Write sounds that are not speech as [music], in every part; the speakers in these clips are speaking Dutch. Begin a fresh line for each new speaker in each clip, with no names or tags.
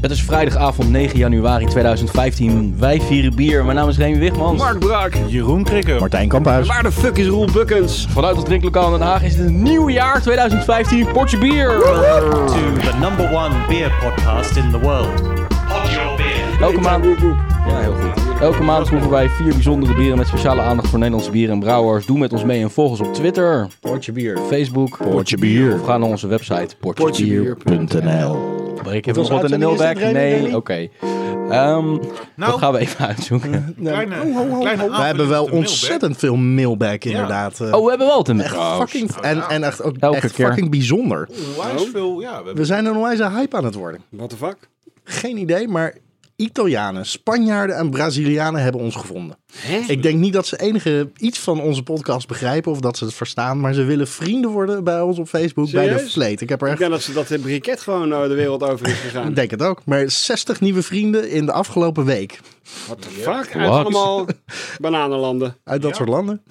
Het is vrijdagavond 9 januari 2015. Wij vieren bier. Mijn naam is Remy Wigmans.
Mark Braak.
Jeroen Krikker.
Martijn Kamphuis.
Waar de fuck is Roel Bukkens?
Vanuit het drinklokaal in Den Haag is het een nieuw jaar 2015. Potje bier.
To the number one beer podcast in the world. Pod your beer.
Elke maand... Ja, heel goed. Elke maand proeven wij vier bijzondere bieren met speciale aandacht voor Nederlandse bieren en brouwers. Doe met ons mee en volg ons op Twitter,
Potje bier.
Facebook of
Portjebier.nl
ga naar onze website portjebier. Ik heb nog wat in de
uitzending
mailbag.
is het
Nee,
Remy?
oké. Ehm,
Nou.
Dat gaan we even uitzoeken.
Kleine, kleine
We hebben wel ontzettend veel mailback, inderdaad. Eh,
Oh, we hebben wel het in de
echt
Oh,
fucking, en, en echt, ook
Elke
echt
keer.
fucking bijzonder.
Onwijs veel, ja. We hebben
We zijn een onwijze hype aan het worden.
What the fuck?
Geen idee, maar Italianen, Spanjaarden en Brazilianen hebben ons gevonden. Ik denk niet dat ze enige iets van onze podcast begrijpen of dat ze het verstaan, maar ze willen vrienden worden bij ons op Facebook bij de
Serieus?
Fleet. Ik heb er
Ik
echt
denk dat ze dat in briket gewoon eh, de wereld over is gegaan.
Ik denk het ook. Maar 60 nieuwe vrienden in de afgelopen week.
What the fuck? Uit
What?
allemaal bananenlanden.
Uit dat soort landen.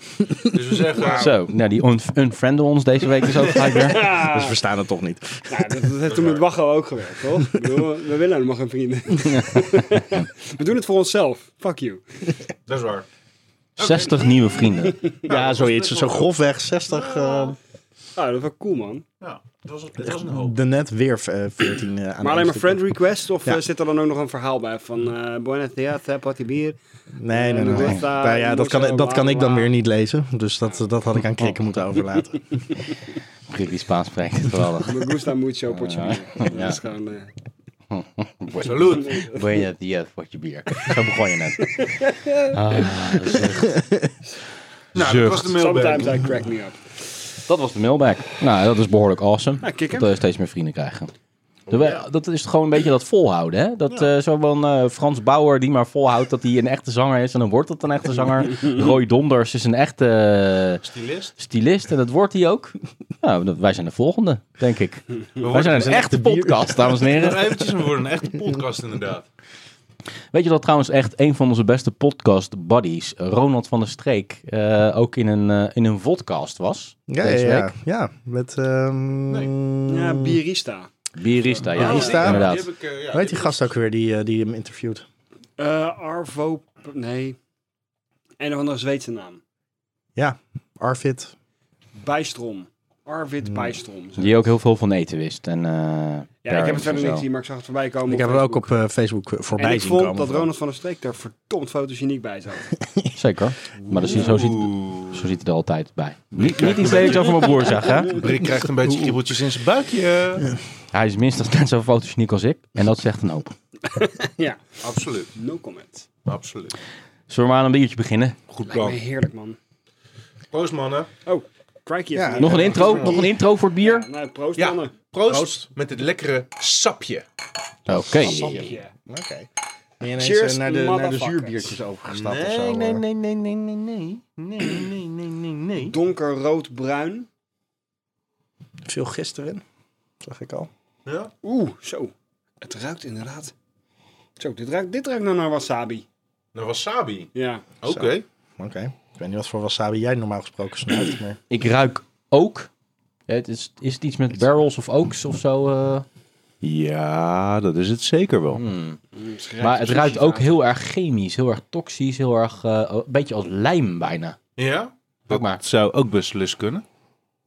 Dus we zeggen,
Zo, nou die un- unfrienden ons deze week dus ook gelijk weer.
Dus we staan het toch niet.
Nou, dat, dat heeft toen met Wacho ook gewerkt, toch? [laughs] Ik bedoel, we willen helemaal geen [laughs] vrienden. we doen het voor onszelf. Fuck you.
dat is waar.
60 nieuwe vrienden.
Ja, zoiets. Zo grofweg 60. eh,
Nou, dat is wel cool, man.
Ja, dat was, dat was een hoop.
de net weer eh, 14 eh, aan
Maar alleen maar
de
friend request? Of
Ja.
eh, zit er dan ook nog een verhaal bij van... eh Buena Theater, Potje [laughs] bier.
Nee, nee, nee. nee.
Moet, eh,
Nou ja, dat
moet
kan,
zo,
dat kan ik dan
bla, Oh. bla.
weer niet lezen. Dus dat, dat had ik aan Krikken moeten
[laughs]
overlaten.
Prik die Spaans spreekt, geweldig.
Me gusta mucho, Potje bier. Dat is gewoon... eh, [laughs]
Salut.
Ben je die het potje bier? Zo begon je net. Ah, dus,
Nou, dat was de mailbag.
sometimes I crack me up.
dat was de mailback. Nou, dat is behoorlijk awesome.
Ja, kikker.
dat we steeds meer vrienden krijgen. Dat we- Dat is gewoon een beetje dat volhouden, hè? Dat eh, zo van eh, Frans Bauer die maar volhoudt dat hij een echte zanger is en dan wordt dat een echte
[laughs]
zanger. Roy Donders is een echte eh,
Stylist.
stylist en dat wordt hij ook. [laughs] Nou, dat- wij zijn de volgende,
[laughs]
denk ik. Wij zijn een echte
bier.
podcast, dames en
Nog
heren.
eventjes, [laughs] we worden een echte podcast inderdaad.
Weet je dat trouwens echt een van onze beste podcast buddies, Ronald van der Streek, eh, ook in een, eh, in een vodcast was?
Ja,
deze
ja, ja.
week?
ja met... ehm
Ja, bierista.
Bierista, ja,
Bierista.
ja,
inderdaad.
die heb ik, eh, ja,
Weet die
die-
gast ook weer die, eh, die hem interviewt?
Eh, Arvo... Nee. Een of andere Zweedse naam.
Arvid.
Bijstrom. Arvid Bijstrom.
Die ook heel veel van eten wist. En, eh,
Ja, ik heb het
parents en
verder
zo.
niet gezien, maar ik zag het voorbij komen.
Ik heb
op
er ook
Facebook.
op eh, Facebook voorbij
En ik
zien
vond
komen.
dat Ronald van der Streek daar verdomd fotogeniek bij zat.
Zeker. Maar dat is, zo, ziet,
Oeh.
zo ziet het er altijd bij. Niet, niet iets lelijks over mijn broer zeggen. hè?
Rick krijgt een beetje kriebeltjes in zijn buikje.
Hij is minstens net zo fotogeniek als ik. En dat zegt een hoop.
ja,
Absoluut,
no comment.
absoluut.
Zullen we maar aan een biertje beginnen?
Goed
Lijkt me
plan.
heerlijk, man.
Proost mannen.
Oh, crikey.
Ja,
even.
Nog een intro? Nog een intro voor het bier?
Nou, proost,
Ja.
mannen.
Proost, met het lekkere sapje.
Oké.
Sapje.
Oké. Ben je ineens,
Cheers,
eh, naar, de, naar de
motherfuckers.
zuurbiertjes overgestapt of zo? eh?
nee, nee, nee, nee. Nee, nee, nee, nee, nee.
Donkerrood-bruin.
Veel gisteren, zag ik al.
Ja?
Oeh, zo. Het ruikt inderdaad... Zo, dit ruikt, dit ruikt nou naar wasabi.
Nou, wasabi.
Ja. Mm,
Oké.
Oké. Ik weet niet wat voor wasabi jij normaal gesproken snuift, maar...
Ik ruik ook. Het is, is het iets met barrels of oaks of zo? eh? Hmm.
Ja, dat is het zeker wel.
Maar het ruikt ook heel erg chemisch, heel erg toxisch, heel erg. eh, een beetje als lijm bijna.
Ja?
Ook maar.
Het zou ook beslist kunnen.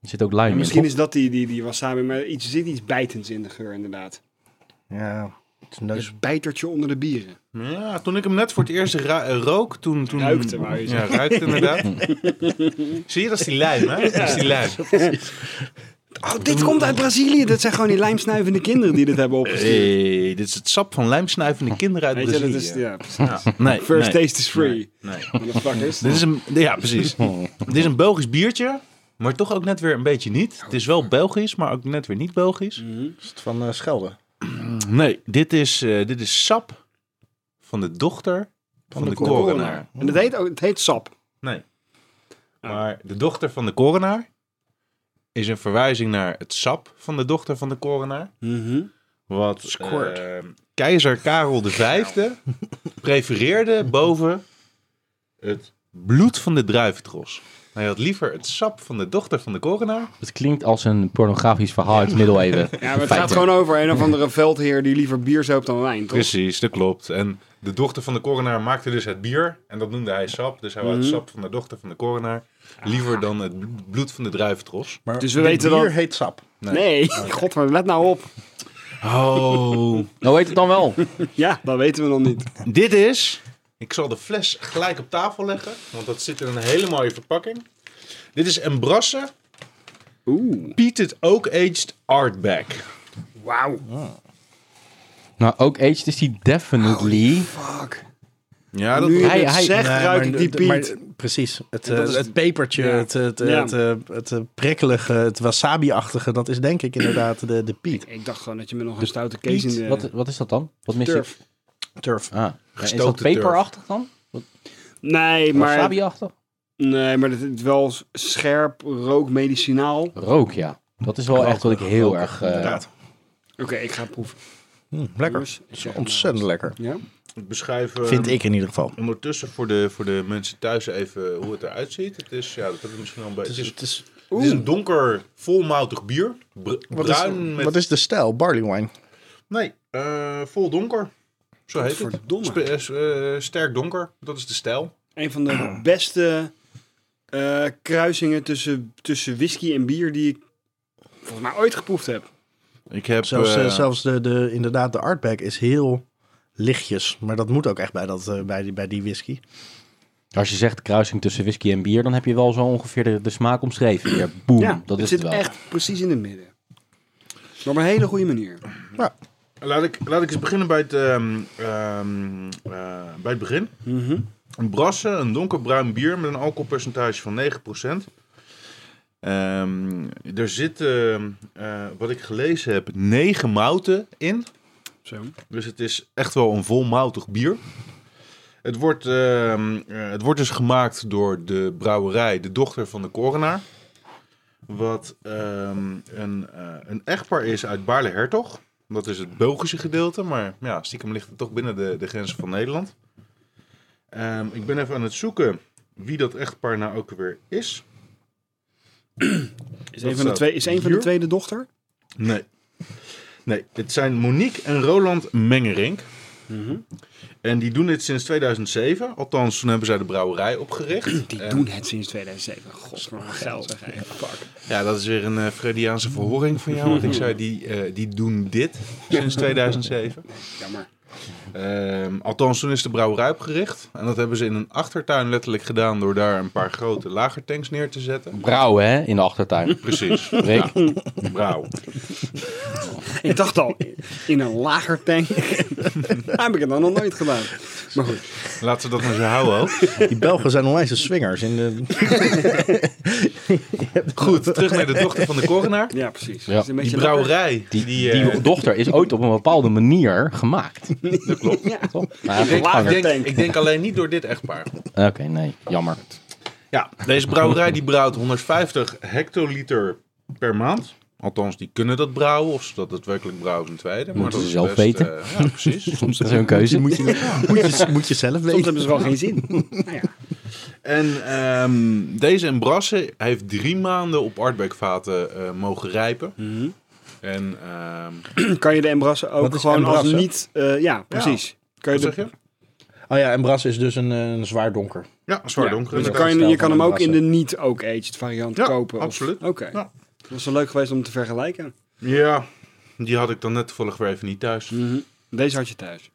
Er zit ook lijm
Misschien
in.
is dat die, die, die wasabi, maar iets, er zit iets bijtends in de geur, inderdaad.
Ja, het is een neus.
Dus bijtertje onder de bieren.
Ja, toen ik hem net voor het eerst ra- eh, rook, toen... toen
Ruikte, wou je
Ja, ruikte
[laughs]
inderdaad. Zie je, dat is die lijm, hè? Dat is die lijm.
Oh, dit komt uit Brazilië. Dat zijn gewoon die lijmsnuivende kinderen die dit hebben opgestuurd.
Hey, dit is het sap van lijmsnuivende kinderen uit
Weet je, dat is...
Brazilië.
Ja, precies.
Nee,
[laughs] First
nee,
taste is free.
nee.
Motherfuckers.
Dit is een, ja,
[laughs]
precies. Dit is een Belgisch biertje, maar toch ook net weer een beetje niet. Het is wel Belgisch, maar ook net weer niet Belgisch.
Is het van eh, Schelde?
Nee, dit is, eh, dit is sap van de dochter van, de, korenaar.
En het heet, ook, het heet sap.
Nee. Maar de dochter van de korenaar is een verwijzing naar het sap van de dochter van de korenaar. Wat
Squirt.
eh, keizer Karel V prefereerde boven het bloed van de druiventros. Hij had liever het sap van de dochter van de korenaar.
Het klinkt als een pornografisch verhaal uit middeleeuwen.
Ja, maar het gaat gewoon over een of andere veldheer die liever bier zoopt dan wijn, toch?
Precies, dat klopt. En de dochter van de korenaar maakte dus het bier. En dat noemde hij sap. Dus hij had het sap van de dochter van de korenaar. Liever dan het bloed van de druiventros.
Maar
Dus we
dit
weten
bier
dat-
heet sap.
Nee, [laughs] god, maar let nou op.
Oh.
Nou weet het dan wel.
Ja, dat weten we nog niet.
Dit is... Ik zal de fles gelijk op tafel leggen. Want dat zit in een hele mooie verpakking. Dit is Embrasse
Oeh.
Peated Oak Aged Artback.
Wauw.
Nou, ook aged is die
Oh,
definitely.
Fuck.
Ja, dat
Nu je
Hij-
dit
hij-
zegt,
Nee,
ruikt
maar-
die
maar-
Piet.
precies. Het,
En dat
eh,
is-
het pepertje,
ja.
het, het, eh,
Ja.
het, eh, het, eh, prikkelige, het wasabi-achtige, dat is denk ik inderdaad de, de Piet.
Ik dacht gewoon dat je me nog een stoute kees in de...
Wat, wat is dat dan? Wat mis je?
Turf.
Turf.
Ah, is dat
Gestookte turf.
peperachtig dan?
Nee, maar,
Wasabi-achtig?
nee, maar het is wel s- scherp, rook, medicinaal. Oké,
Rook, ja. Dat is wel echt wat ik heel erg... eh,
Inderdaad.
ik ga het proeven.
Mm, lekker.
Jongens, ik
Is
zeg
Ontzettend lekker.
maar wat. Ja?
Ik beschrijf... eh,
Vind ik in ieder geval.
Ondertussen voor de, voor de mensen thuis even hoe het eruit ziet. Het is, ja, dat heb ik misschien al een beetje...
Het is, het is,
Het is een donker, volmoutig bier. Br-
wat,
bruin
is,
met...
wat is de stijl? Barley wine.
Nee, eh, vol donker. Zo heet het.
Verdomme.
Spe- eh, s- eh, sterk donker, dat is de stijl.
Een van de beste eh, kruisingen tussen, tussen whisky en bier die ik volgens mij ooit geproefd heb.
Ik heb...
Zelfs, eh, zelfs de, de, inderdaad, de artback is heel lichtjes. Maar dat moet ook echt bij, dat, eh, bij, die, bij die whisky.
Als je zegt kruising tussen whisky en bier, dan heb je wel zo ongeveer de, de smaak omschreven. hier. boem,
ja,
dat
het
is
zit
het wel.
echt precies in het midden. Maar op een hele goede manier.
laat, ik, laat ik eens beginnen bij het, ehm, ehm, eh, bij het begin.
Mhm.
Een brasse, een donkerbruin bier met een alcoholpercentage van 9%. Ehm, er zitten, eh, wat ik gelezen heb, 9 mouten in.
Zo.
Dus het is echt wel een volmoutig bier. Het wordt, ehm, eh, het wordt dus gemaakt door de brouwerij, de dochter van de korenaar. Wat ehm, een, eh, een echtpaar is uit Baarle-Hertog. Dat is het Belgische gedeelte, maar ja, stiekem ligt het toch binnen de, de grenzen van Nederland. Ehm, ik ben even aan het zoeken wie dat echtpaar nou ook weer is.
Is,
Dat
een van, de
staat
twee, is een van de
hier.
twee de dochter?
Nee. Nee, het zijn Monique en Roland Mengerink. En die doen dit sinds 2007. Althans, toen hebben zij de brouwerij opgericht.
Die
En-
doen het sinds 2007. God, maar wat geld zeg eigenlijk. Fuck.
[clears throat] Ja, dat is weer een eh Freudiaanse verhoring van jou. Want ik zei, die, eh, die doen dit sinds 2007.
Jammer.
Ehm, althans, toen is de brouwerij opgericht. En dat hebben ze in een achtertuin letterlijk gedaan... door daar een paar grote lagertanks neer te zetten.
Brouwen, hè, in de
[laughs]
achtertuin.
Precies,
Rick,
brouw.
Ik dacht al, in een lager tank. heb ik het dan nog nooit gedaan. Maar goed.
Laten we dat maar zo houden ook.
Die Belgen zijn onwijs de swingers. In de, [laughs]
Goed, terug naar de dochter van de korenaar.
Ja, precies.
Ja.
Het is een
Die
beetje
brouwerij, die...
die,
eh,
die dochter is ooit op een bepaalde manier gemaakt.
dat klopt.
lekker. [laughs] Ja.
Toch? Maar
denk-
goed,
Ik
Lager
denk,
tank.
ik denk alleen niet door dit echtpaar.
Oké, nee, jammer.
Ja, deze brouwerij die brouwt 150 hectoliter per maand. Althans, die kunnen dat brouwen. Of ze dat daadwerkelijk brouwen is een tweede. Maar
Moeten
dat
ze
is
zelf
best,
weten.
eh, ja, precies.
[laughs] Soms is zo'n keuze.
moet, je, moet, je, moet je zelf
Soms
weten.
hebben ze gewoon geen zin. Nou ja.
En ehm, deze Embrasse heeft drie maanden op Artback-vaten eh, mogen rijpen. En ehm,
Kan je de embrassen ook
Wat is
gewoon als
embrassen?
niet... eh, ja, precies. Kan je
wat
de-
zeg je?
Oh ja, en Bras is dus een, eh, een zwaar donker.
Ja, zwaar
Ja, dus
donker.
je
inderdaad.
kan, je,
Stijl
je
van
kan hem ook in
embrassen.
de niet-oak-aged variant
Ja,
kopen. of-
absoluut.
Oké.
Ja.
Dat was wel leuk geweest om te vergelijken.
Ja, die had ik dan net toevallig weer even niet thuis.
Deze had je thuis.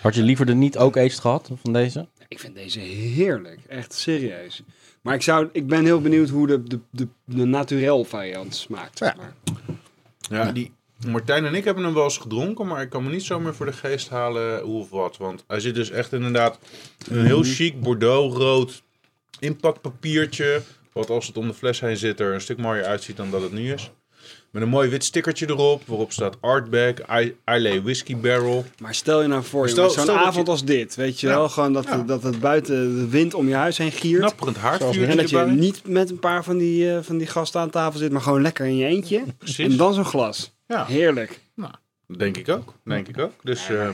Had je liever de niet ook aged gehad van deze?
Ik vind deze heerlijk. Echt serieus. Maar ik, zou, ik ben heel benieuwd hoe de, de, de, de naturel variant smaakt. zeg
Ja.
maar.
Ja, die Martijn en ik hebben hem wel eens gedronken, maar ik kan me niet zomaar voor de geest halen hoe of wat. Want hij zit dus echt inderdaad in een heel chic bordeaux-rood inpakpapiertje. Wat als het om de fles heen zit er een stuk mooier uitziet dan dat het nu is. Met een mooi wit stickertje erop, waarop staat Artback, I- Islay Whiskey Barrel.
Maar stel je nou voor,
Stel-
jongens, zo'n
stel dat
avond
je-
als dit. Weet je wel, gewoon dat, dat het buiten de wind om je huis heen giert.
Knapperend
En
haardvuurtje
dat je
erbij.
niet met een paar van die, eh, van die gasten aan tafel zit, maar gewoon lekker in je eentje.
Precies.
En dan zo'n glas.
Ja.
Heerlijk.
Denk ik ook, denk ik ook. Dus eh,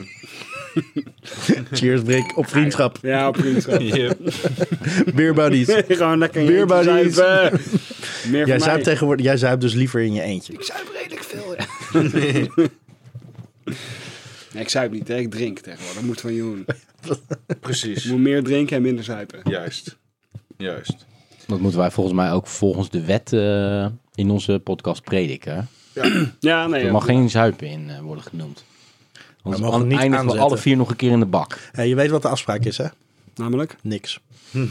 Cheers, Brik. Op vriendschap.
Ja, op
[laughs]
vriendschap.
Beer
[laughs]
buddies.
Gewoon lekker in je
Beer
eentje
buddies.
zuipen. [laughs] Meer
Jij
van mij.
zuipt tegenwoordig, jij zuipt dus liever in je eentje.
Ik zuip redelijk veel, ja. nee, ik zuip niet, hè. ik drink tegenwoordig. Dat moet van je doen.
Precies.
Je moet meer drinken en minder zuipen.
Juist. Juist.
Dat moeten wij volgens mij ook volgens de wet eh, in onze podcast prediken. hè?
Ja, nee.
Er
ja.
mag geen zuipen in eh, worden genoemd. Anders
mogen niet
eindigen we
aanzetten.
alle vier nog een keer in de bak.
Hé, Eh, je weet wat de afspraak is, hè?
Namelijk,
Niks.
Nou.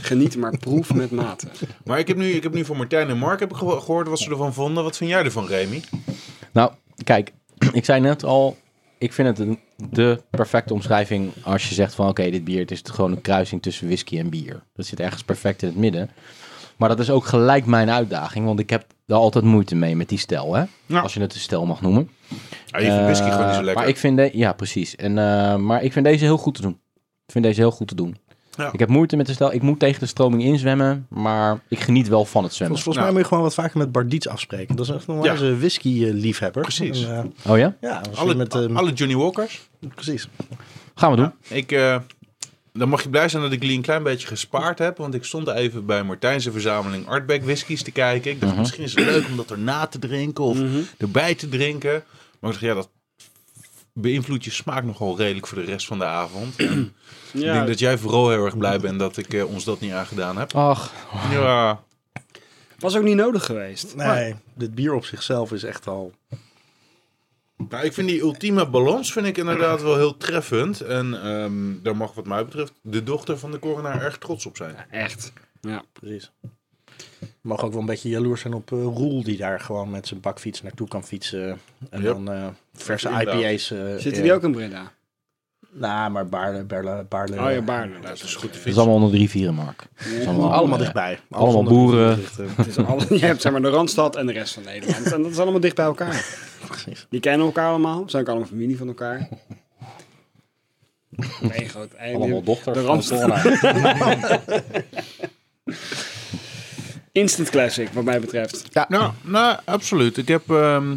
geniet maar proef met mate.
Maar ik heb nu, ik heb nu van Martijn en Mark heb ik geho- gehoord wat ze ervan vonden. Wat vind jij ervan, Remy?
Nou, kijk, [clears throat] ik zei net al, ik vind het een, de perfecte omschrijving als je zegt van oké, dit bier het is gewoon een kruising tussen whisky en bier. Dat zit ergens perfect in het midden. Maar dat is ook gelijk mijn uitdaging, want ik heb daar altijd moeite mee met die stijl, hè?
Ja.
Als je het een stijl mag noemen.
Ja, je vindt whisky
Eh,
gewoon niet zo lekker.
Maar ik vind de, ja, precies. En, eh, maar ik vind deze heel goed te doen. Ik vind deze heel goed te doen.
Ja.
Ik heb moeite met de stel. Ik moet tegen de stroming inzwemmen, maar ik geniet wel van het zwemmen.
Volgens, volgens
Nou.
mij moet je gewoon wat vaker met Bardiets afspreken. Dat is echt normaal
Ja.
eens een eh, whisky-liefhebber.
Precies.
Oh ja?
eh, ja, als je
alle,
met,
ehm,
eh,
alle Johnny Walkers.
precies.
Gaan we doen.
Ik, eh, dan mag je blij zijn dat ik die een klein beetje gespaard heb. Want ik stond even bij Martijnse verzameling Artback whiskies te kijken. Ik dacht,
Mhm.
misschien is het leuk om dat erna te drinken of erbij te drinken. Maar ik dacht, ja, dat beïnvloedt je smaak nogal redelijk voor de rest van de avond. En Ik
Ja,
denk dat jij vooral heel erg blij bent dat ik eh, ons dat niet aangedaan heb.
Ach,
Ja,
was ook niet nodig geweest.
Nee, dit bier op zichzelf is echt al...
Nou, ik vind die ultieme balans vind ik inderdaad wel heel treffend. En ehm, daar mag wat mij betreft de dochter van de coronair erg trots op zijn.
Echt. Ja.
Precies. Je mag ook wel een beetje jaloers zijn op eh, Roel, die daar gewoon met zijn bakfiets naartoe kan fietsen. En
Yep.
dan eh, verse
Inderdaad.
IPA's. eh,
Zitten
eh,
die ook in Breda?
Nou, maar Baarle, Berle, Baarle.
Oh ja, Baarle.
Dat is goed te
het is
vinden.
allemaal onder de rivieren, Mark. Het is allemaal,
Allemaal
eh,
dichtbij.
allemaal
onder de eh,
boeren.
rivier.
Het is alle- je hebt zeg maar de Randstad en de rest van Nederland. En dat is allemaal dicht bij elkaar.
Precies.
Die kennen elkaar allemaal. Zijn ook allemaal familie van elkaar. Nee, groot. ei.
Allemaal dochters
De
van
Randstad. [laughs] Instant classic, wat mij betreft.
Nou, nou, absoluut. Ik heb ehm,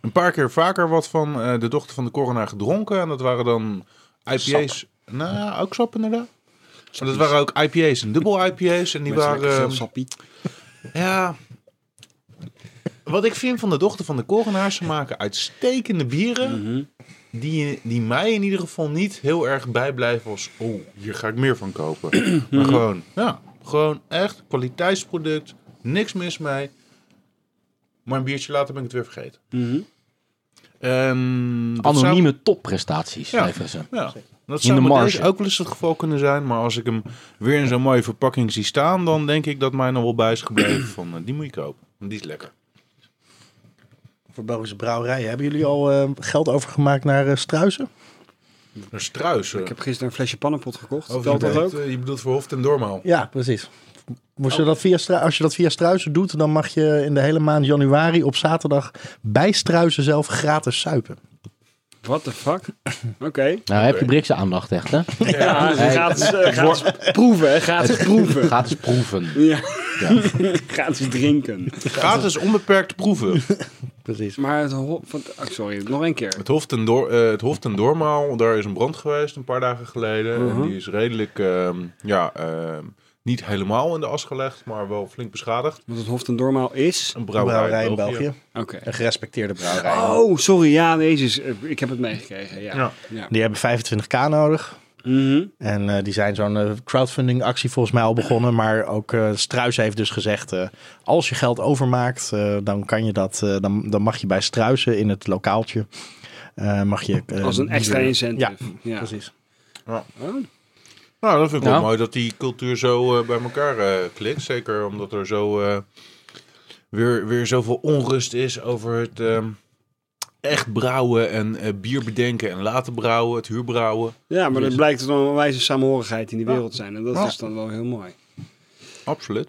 een paar keer vaker wat van eh, de dochter van de coronair gedronken. En dat waren dan IPA's. Nou, ook sap inderdaad. Maar dat waren ook IPA's en dubbel IPA's. En die
Met
waren...
lekker veel
ehm,
sappie.
Ja. Wat ik vind van de dochter van de Korenaar, ze maken uitstekende bieren. die, die mij in ieder geval niet heel erg bijblijven als... Oh, hier ga ik meer van kopen. maar gewoon, ja, gewoon echt kwaliteitsproduct. Niks mis mee. Maar een biertje later ben ik het weer vergeten.
Mhm.
Ehm, dat zou-
Anonieme topprestaties,
Ja.
leveren ze.
ja, dat
de
zou bij
marge.
deze ook wel eens het geval kunnen zijn. Maar als ik hem weer in zo'n mooie verpakking zie staan... dan denk ik dat mij nog wel bij is gebleven van... eh, die moet je kopen, want die is lekker.
Voor Belgische brouwerijen. Hebben jullie al eh, geld overgemaakt naar eh, Struisen?
Een struis.
Ik heb gisteren een flesje pannenpot gekocht.
Of
Telt dat ook?
Je bedoelt voor Hoofd en Dormaal.
Ja, precies. Moest je dat via Stru- als je dat via Struisen doet, dan mag je in de hele maand januari op zaterdag bij Struisen zelf gratis suipen.
What the fuck? Oké.
Nou, heb je Brikse aandacht echt, hè?
Ja, dus
Hey.
gratis, eh, gratis proeven, hè. gratis proeven.
Gratis proeven.
Ja,
Ja.
[laughs] gratis drinken.
Gratis onbeperkt proeven.
Precies.
Maar het ho- van, oh, sorry, nog één keer.
[laughs] Het Hof ten, Door, eh, het Hof ten Dormaal, daar is een brand geweest een paar dagen geleden. En die is redelijk, ehm, ja, ehm, niet helemaal in de as gelegd, maar wel flink beschadigd.
Want het Hof ten Dormaal is...
Een
Een
brouwerij,
brouwerij in België.
Oké.
Een gerespecteerde brouwerij.
Oh, sorry, ja, jezus, eh, ik heb het meegekregen, ja.
Ja.
ja.
Die hebben 25k nodig.
Mhm.
En eh, die zijn zo'n eh, crowdfunding actie volgens mij al begonnen. Maar ook eh Struis heeft dus gezegd, eh, als je geld overmaakt, eh, dan, kan je dat, eh, dan, dan mag je bij Struisen in het lokaaltje. eh, mag je, eh,
Als een extra
bier-
incentive.
Ja,
Ja.
precies. [laughs]
Oh,
Nou, dat vind ik
Nou.
wel mooi dat die cultuur zo eh, bij elkaar eh, klikt. Zeker omdat er zo eh, weer, weer zoveel onrust is over het ehm, echt brouwen en eh, bier bedenken en laten brouwen, het huurbrouwen.
Ja, maar dat blijkt dan een wijze samenhorigheid in die wereld zijn. En dat is dan wel heel mooi.
Absoluut.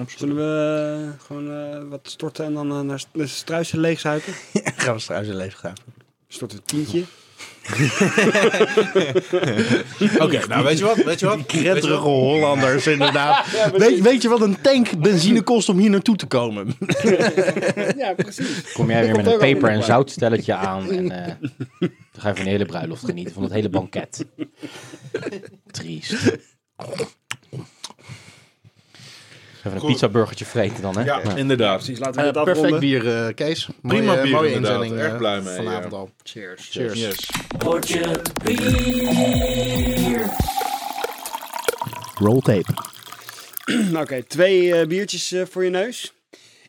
Absoluut.
Zullen we eh, gewoon eh, wat storten en dan eh, naar st- naar struisen leegzuipen?
Gaan we Struisen leeg gaan.
Storten een tientje.
Oké, nou weet je wat? Weet je wat? Weet je
Prettige
wat? [laughs]
Hollanders, inderdaad. weet, weet je wat een tank benzine kost om hier naartoe te komen?
Ja, precies.
Kom jij weer met
ook
een
al in
peper-
de
en
war.
zoutstelletje aan.
[laughs]
En eh, dan ga je van de hele bruiloft genieten. Van het hele banket. Triest. Even een
Goed.
pizzaburgertje vreten dan, hè?
Ja,
Ja.
inderdaad.
Precies, laten we
Eh,
dat
perfect
afronden.
bier, eh, Kees.
Prima
mooie,
bier,
mooie
inderdaad.
inzending.
Erg
eh,
blij mee,
Vanavond
ja.
al.
Cheers.
Cheers.
Yes.
Roll tape.
Nou, Oké, twee eh, biertjes eh, voor je neus.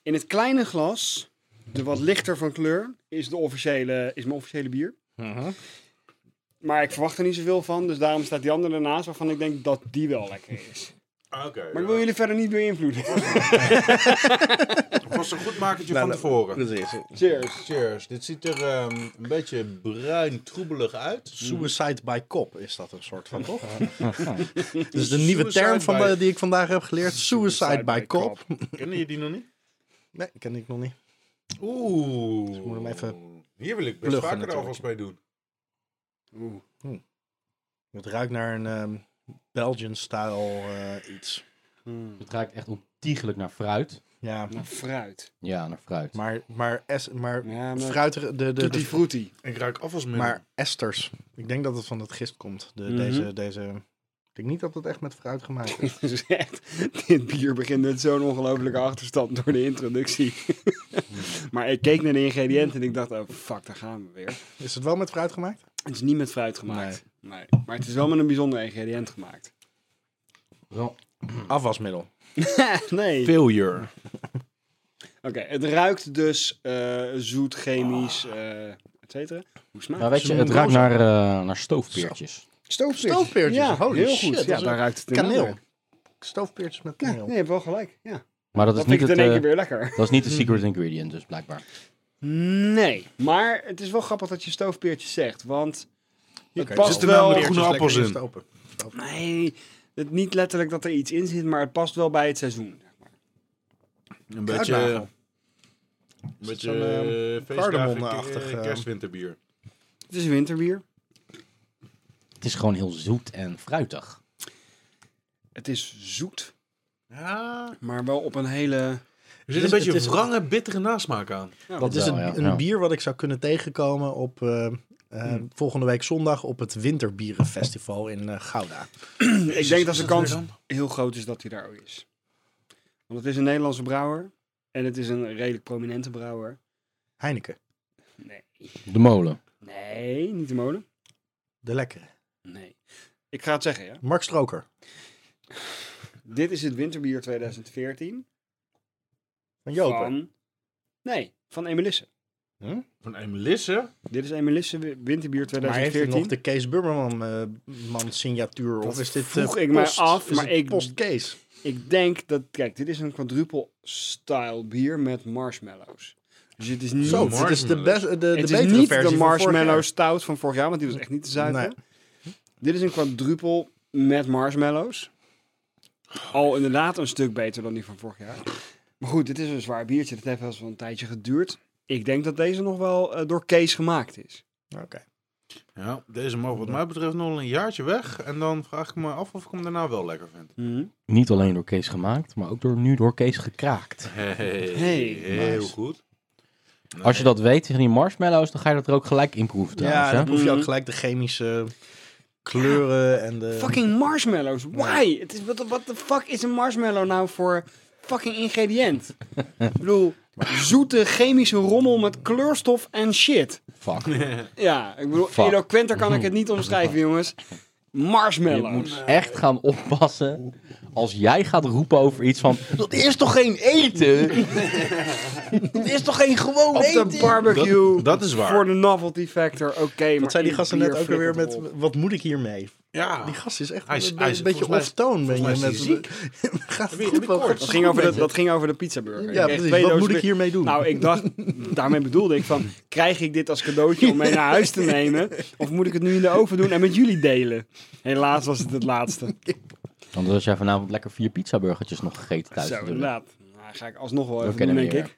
In het kleine glas, de wat lichter van kleur, is, de officiële, is mijn officiële bier. Maar ik verwacht er niet zoveel van, dus daarom staat die andere ernaast waarvan ik denk dat die wel lekker is.
Ah, Oké.
Maar ik wil jullie verder niet beïnvloeden.
Het was een goed makertje
Nou,
van tevoren.
Cheers.
Cheers. Dit ziet er ehm, een beetje bruin troebelig uit.
Suicide by cop is dat een soort van, toch? [laughs] Dat is de nieuwe
Suicide
term van
by-
de- die ik vandaag heb geleerd. Suicide by cop.
[laughs]
[laughs]
Kennen je die nog niet?
Nee, ken ik nog niet.
Oeh. Dus
moet hem even
Hier wil ik best
pluggen
vaker
natuurlijk.
alvast mee doen.
Het ruikt naar een ehm, Belgian-style eh, iets.
Het ruikt echt ontiegelijk naar fruit.
Ja,
Nou, fruit.
Ja, naar fruit.
maar, maar, es, maar,
Ja, maar-
fruit... De, de, de,
Tutti frutti. [laughs]
Ik ruik afwasmiddel.
maar esters. Ik denk dat het van het gist komt. De,
Mhm.
deze, deze... Ik denk niet dat het echt met fruit
[laughs]
gemaakt is.
Het is Dus echt, dit bier begint met zo'n ongelofelijke achterstand door de introductie. [laughs] maar ik keek naar de ingrediënten en ik dacht, oh fuck, daar gaan we weer.
Is het wel met fruit gemaakt?
Het is niet met fruit gemaakt. Nee. Maar het is wel met een bijzonder ingrediënt gemaakt.
Wel,
Afwasmiddel.
[laughs] nee. Oké,
failure.
het ruikt dus eh, zoet, chemisch, eh et cetera. Hoe smaakt
Maar weet je, het
Zo'n
ruikt
roze.
naar, eh, naar stoofpeertjes.
Nou, Stoofpeertjes. dus
Stoofpeertjes,
Ja,
holy
heel
shit,
goed.
dat
Ja,
is
daar
een
ruikt het in.
Kaneel. Stoofpeertjes met
Ja,
kaneel.
nee, je hebt wel gelijk. Ja.
Maar dat is niet
Dat vind ik
het,
in één
eh,
keer weer lekker.
dat is niet de secret ingredient dus, blijkbaar.
Nee, maar het is wel grappig dat je stoofpeertjes zegt, want dus het
Oké, dus
past
zitten wel
wel...
met groene appels in.
Open.
Nee, het, niet letterlijk dat er iets in zit, maar het past wel bij het seizoen. zeg maar.
Een beetje...
Kruidnagel.
Een beetje
zo'n, ehm,
eh, feestdagen,
cardamom-achtig,
eh,
eh,
kerstwinterbier.
Het is winterbier.
Het is gewoon heel zoet en fruitig.
Het is zoet,
Ja,
maar wel op een hele... [clears throat]
er zit
is-
een beetje
het is-
wrange, bittere nasmaak aan.
Dat is
Wel,
een,
ja.
een
Ja. Hmm.
bier wat ik zou kunnen tegenkomen op eh, eh, volgende week zondag op het Winterbierenfestival in eh, Gouda.
Ik denk dus dat de
Is dat
kans
weer dan?
heel groot is dat hij daar ook is. Want het is een Nederlandse brouwer. En het is een redelijk prominente brouwer.
Heineken,
Nee.
De molen.
Nee, niet de molen.
de lekkere.
Nee. Ik ga het zeggen, ja.
Mark Stroker
Dit is het winterbier 2014.
van Jopen.
Van... Nee, van Emelisse.
Van Emelisse?
Dit is Emelisse wi- winterbier
Maar heeft hij
2014.
nog de Kees Bummerman eh, man signatuur?
Dat
of is dit
vroeg
eh,
ik mij
post-
af,
is
maar
het
ik-
post-Kees.
Ik denk dat... Kijk, dit is een quadruple-style bier met marshmallows. Dus het is niet...
Zo, dit is de, best, de, de
het
betere
is niet
versie
de
van vorig
marshmallow
jaar.
stout van vorig jaar, want die was echt niet te zuiver.
Nee.
Dit is een quadruple met marshmallows. Al inderdaad een stuk beter dan die van vorig jaar. Maar goed, dit is een zwaar biertje. Dat heeft wel eens wel een tijdje geduurd. Ik denk dat deze nog wel eh, door Kees gemaakt is.
Oké.
Ja, deze mag wat mij betreft nog wel een jaartje weg. En dan vraag ik me af of ik hem daarna wel lekker vind.
Mhm.
Niet alleen door Kees gemaakt, maar ook door, nu door Kees gekraakt.
Hey,
Hey,
heel
nice.
goed.
Als je dat weet tegen die marshmallows, dan ga je dat er ook gelijk in proeven trouwens.
Ja,
hè?
dan proef je ook
Mhm.
gelijk de chemische kleuren en de...
Fucking marshmallows, why? Het is, wat wat de fuck is een marshmallow nou voor fucking ingrediënt? Ik bedoel, zoete chemische rommel met kleurstof en shit.
Fuck.
Ja, ik bedoel,
Fuck.
eloquenter kan ik het niet omschrijven, jongens.
Je
Marshmallows.
moet echt gaan oppassen als jij gaat roepen over iets van... Dat is toch geen eten? dat is toch geen gewoon
Op de barbecue.
Dat- dat is waar.
Voor de novelty factor, oké. maar
Wat zei die
in
gasten
bier
net ook alweer
flikkert
met...
het op.
Wat moet ik hiermee?
Ja.
Die gast is echt
Hij is-
een,
hij is-
een beetje
volgens mij-
off-toon. ben je
volgens mij
met
is hij
[laughs] Gaat
je-
goed
heb je
wel
koorts?
goed.
Dat ging, over de, dat ging over de pizzaburger.
Ja,
Ik kreeg
precies.
twee
Wat
dozen
moet ik
pizza-
hiermee doen?
Nou, ik dacht, daarmee bedoelde ik van, krijg ik dit als cadeautje om mee naar huis te nemen? Of moet ik het nu in de oven doen en met jullie delen? Helaas was het het laatste.
Anders had jij vanavond lekker vier pizzaburgertjes nog gegeten thuis.
Zo,
natuurlijk.
inderdaad. Nou, ga ik alsnog wel even
kennen
doen,
we
denk
je
[clears throat]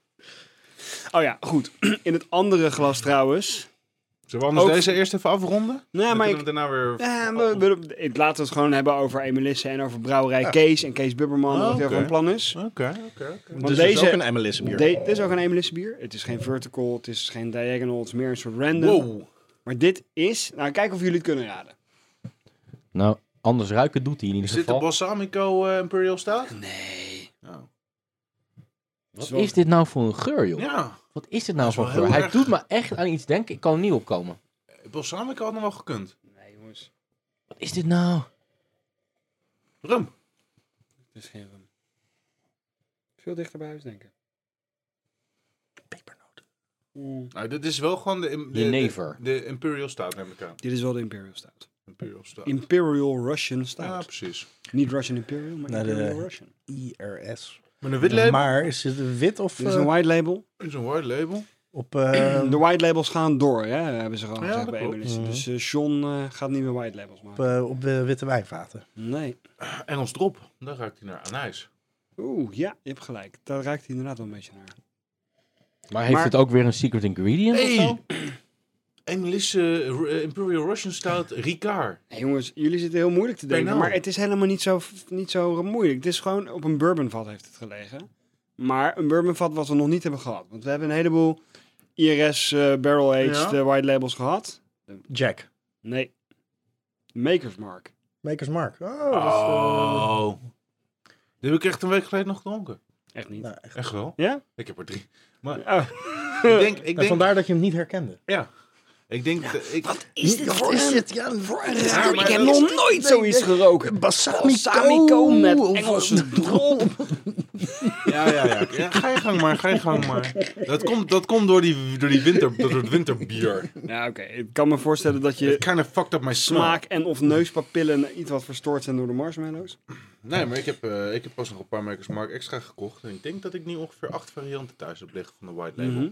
ik. Oh ja, goed. In het andere glas trouwens
Zullen we anders
Ook-
deze eerst even afronden?
Nou,
Dan
maar
kunnen we daarna weer...
Ja,
oh.
we, we- ik laat het gewoon hebben over Emilissen en over brouwerij Kees en Kees Bubberman.
Oh,
wat heel
oké.
van plan is.
Oké, oké, oké.
Want
dus
deze,
dat is ook een MLS bier.
de- dit is ook een Emilissen bier. Het is geen vertical, het is geen diagonal, het is meer een soort random.
Wow.
Maar dit is, nou kijk of jullie het kunnen raden.
Nou, anders ruiken doet hij in ieder
Is dit de
geval.
Balsamico eh, Imperial Stout?
Nee.
Oh.
Wat is dit nou voor een geur, joh?
Ja,
Wat is dit nou
is wel
voor een geur?
heel
Hij
erg.
doet me echt aan iets denken. Ik kan er niet opkomen.
Balsamico had nog wel gekund.
Nee jongens,
Wat is dit nou?
Rum.
het is geen rum. Veel dichter bij huis denken. Pepernoten.
Nou, dit is wel gewoon de... im- de-
Jenever.
De, de Imperial Stout neem ik aan.
Dit is wel de Imperial Stout.
Imperial Stout.
Imperial Russian
ja,
Stout.
precies.
Niet Russian Imperial, maar
Nou, de-
Imperial Russian.
IRS.
Met een wit label.
Maar is het wit of
Dit is een
eh,
white label.
Is een white label.
[clears throat]
op... eh,
De white labels gaan door, hè, hebben ze gewoon
Ja,
gezegd
dat
bij
klopt. Mhm.
Emilissen. Dus eh, John eh, gaat niet meer white labels
op,
maken.
eh, op eh, witte wijnvaten.
Nee.
Engels drop. Daar ruikt hij naar Ah, anijs.
Oeh, ja, je hebt gelijk. Daar raakt hij inderdaad wel een beetje naar.
Maar heeft
Maar-
het ook weer een secret ingredient of zo?
Hey! Engelse eh, Imperial Russian Stout Ricard.
Hey, jongens, jullie zitten heel moeilijk te denken,
Bijna.
maar het is helemaal niet zo, niet zo moeilijk. Het is gewoon, op een bourbonvat heeft het gelegen. Maar een bourbonvat wat we nog niet hebben gehad. Want we hebben een heleboel IRS eh, barrel aged
Ja.
eh, white labels gehad.
Jack.
Nee. Maker's Mark.
Makers Mark. Oh, dat is, eh,
Oh. Die heb ik echt een week geleden nog gedronken.
Echt niet.
nou, echt.
Echt wel?
Ja?
Ik heb er drie. Maar ik
Oh.
denk... Ik
Nou,
denk,
vandaar dat je hem niet herkende.
ja. Ik denk... dat ik,
Is dit voor dit? Ja, voor een raar.
Ik heb nog nooit zoiets geroken. Balsamico met
[laughs]
Engelse drop.
Ja, ja, ja. ja ga je gang maar, ga je gang maar. Dat komt, dat komt door, die, door, die winter, door het winterbier.
Ja, oké. Ik kan me voorstellen dat je
It kind of fucked up my smaak.
smaak en of neuspapillen iets wat verstoord zijn door de marshmallows.
Nee, maar ik heb, eh, ik heb pas nog een paar merkers Mark extra gekocht. En ik denk dat ik nu ongeveer acht varianten thuis heb liggen van de White Label.
Mhm.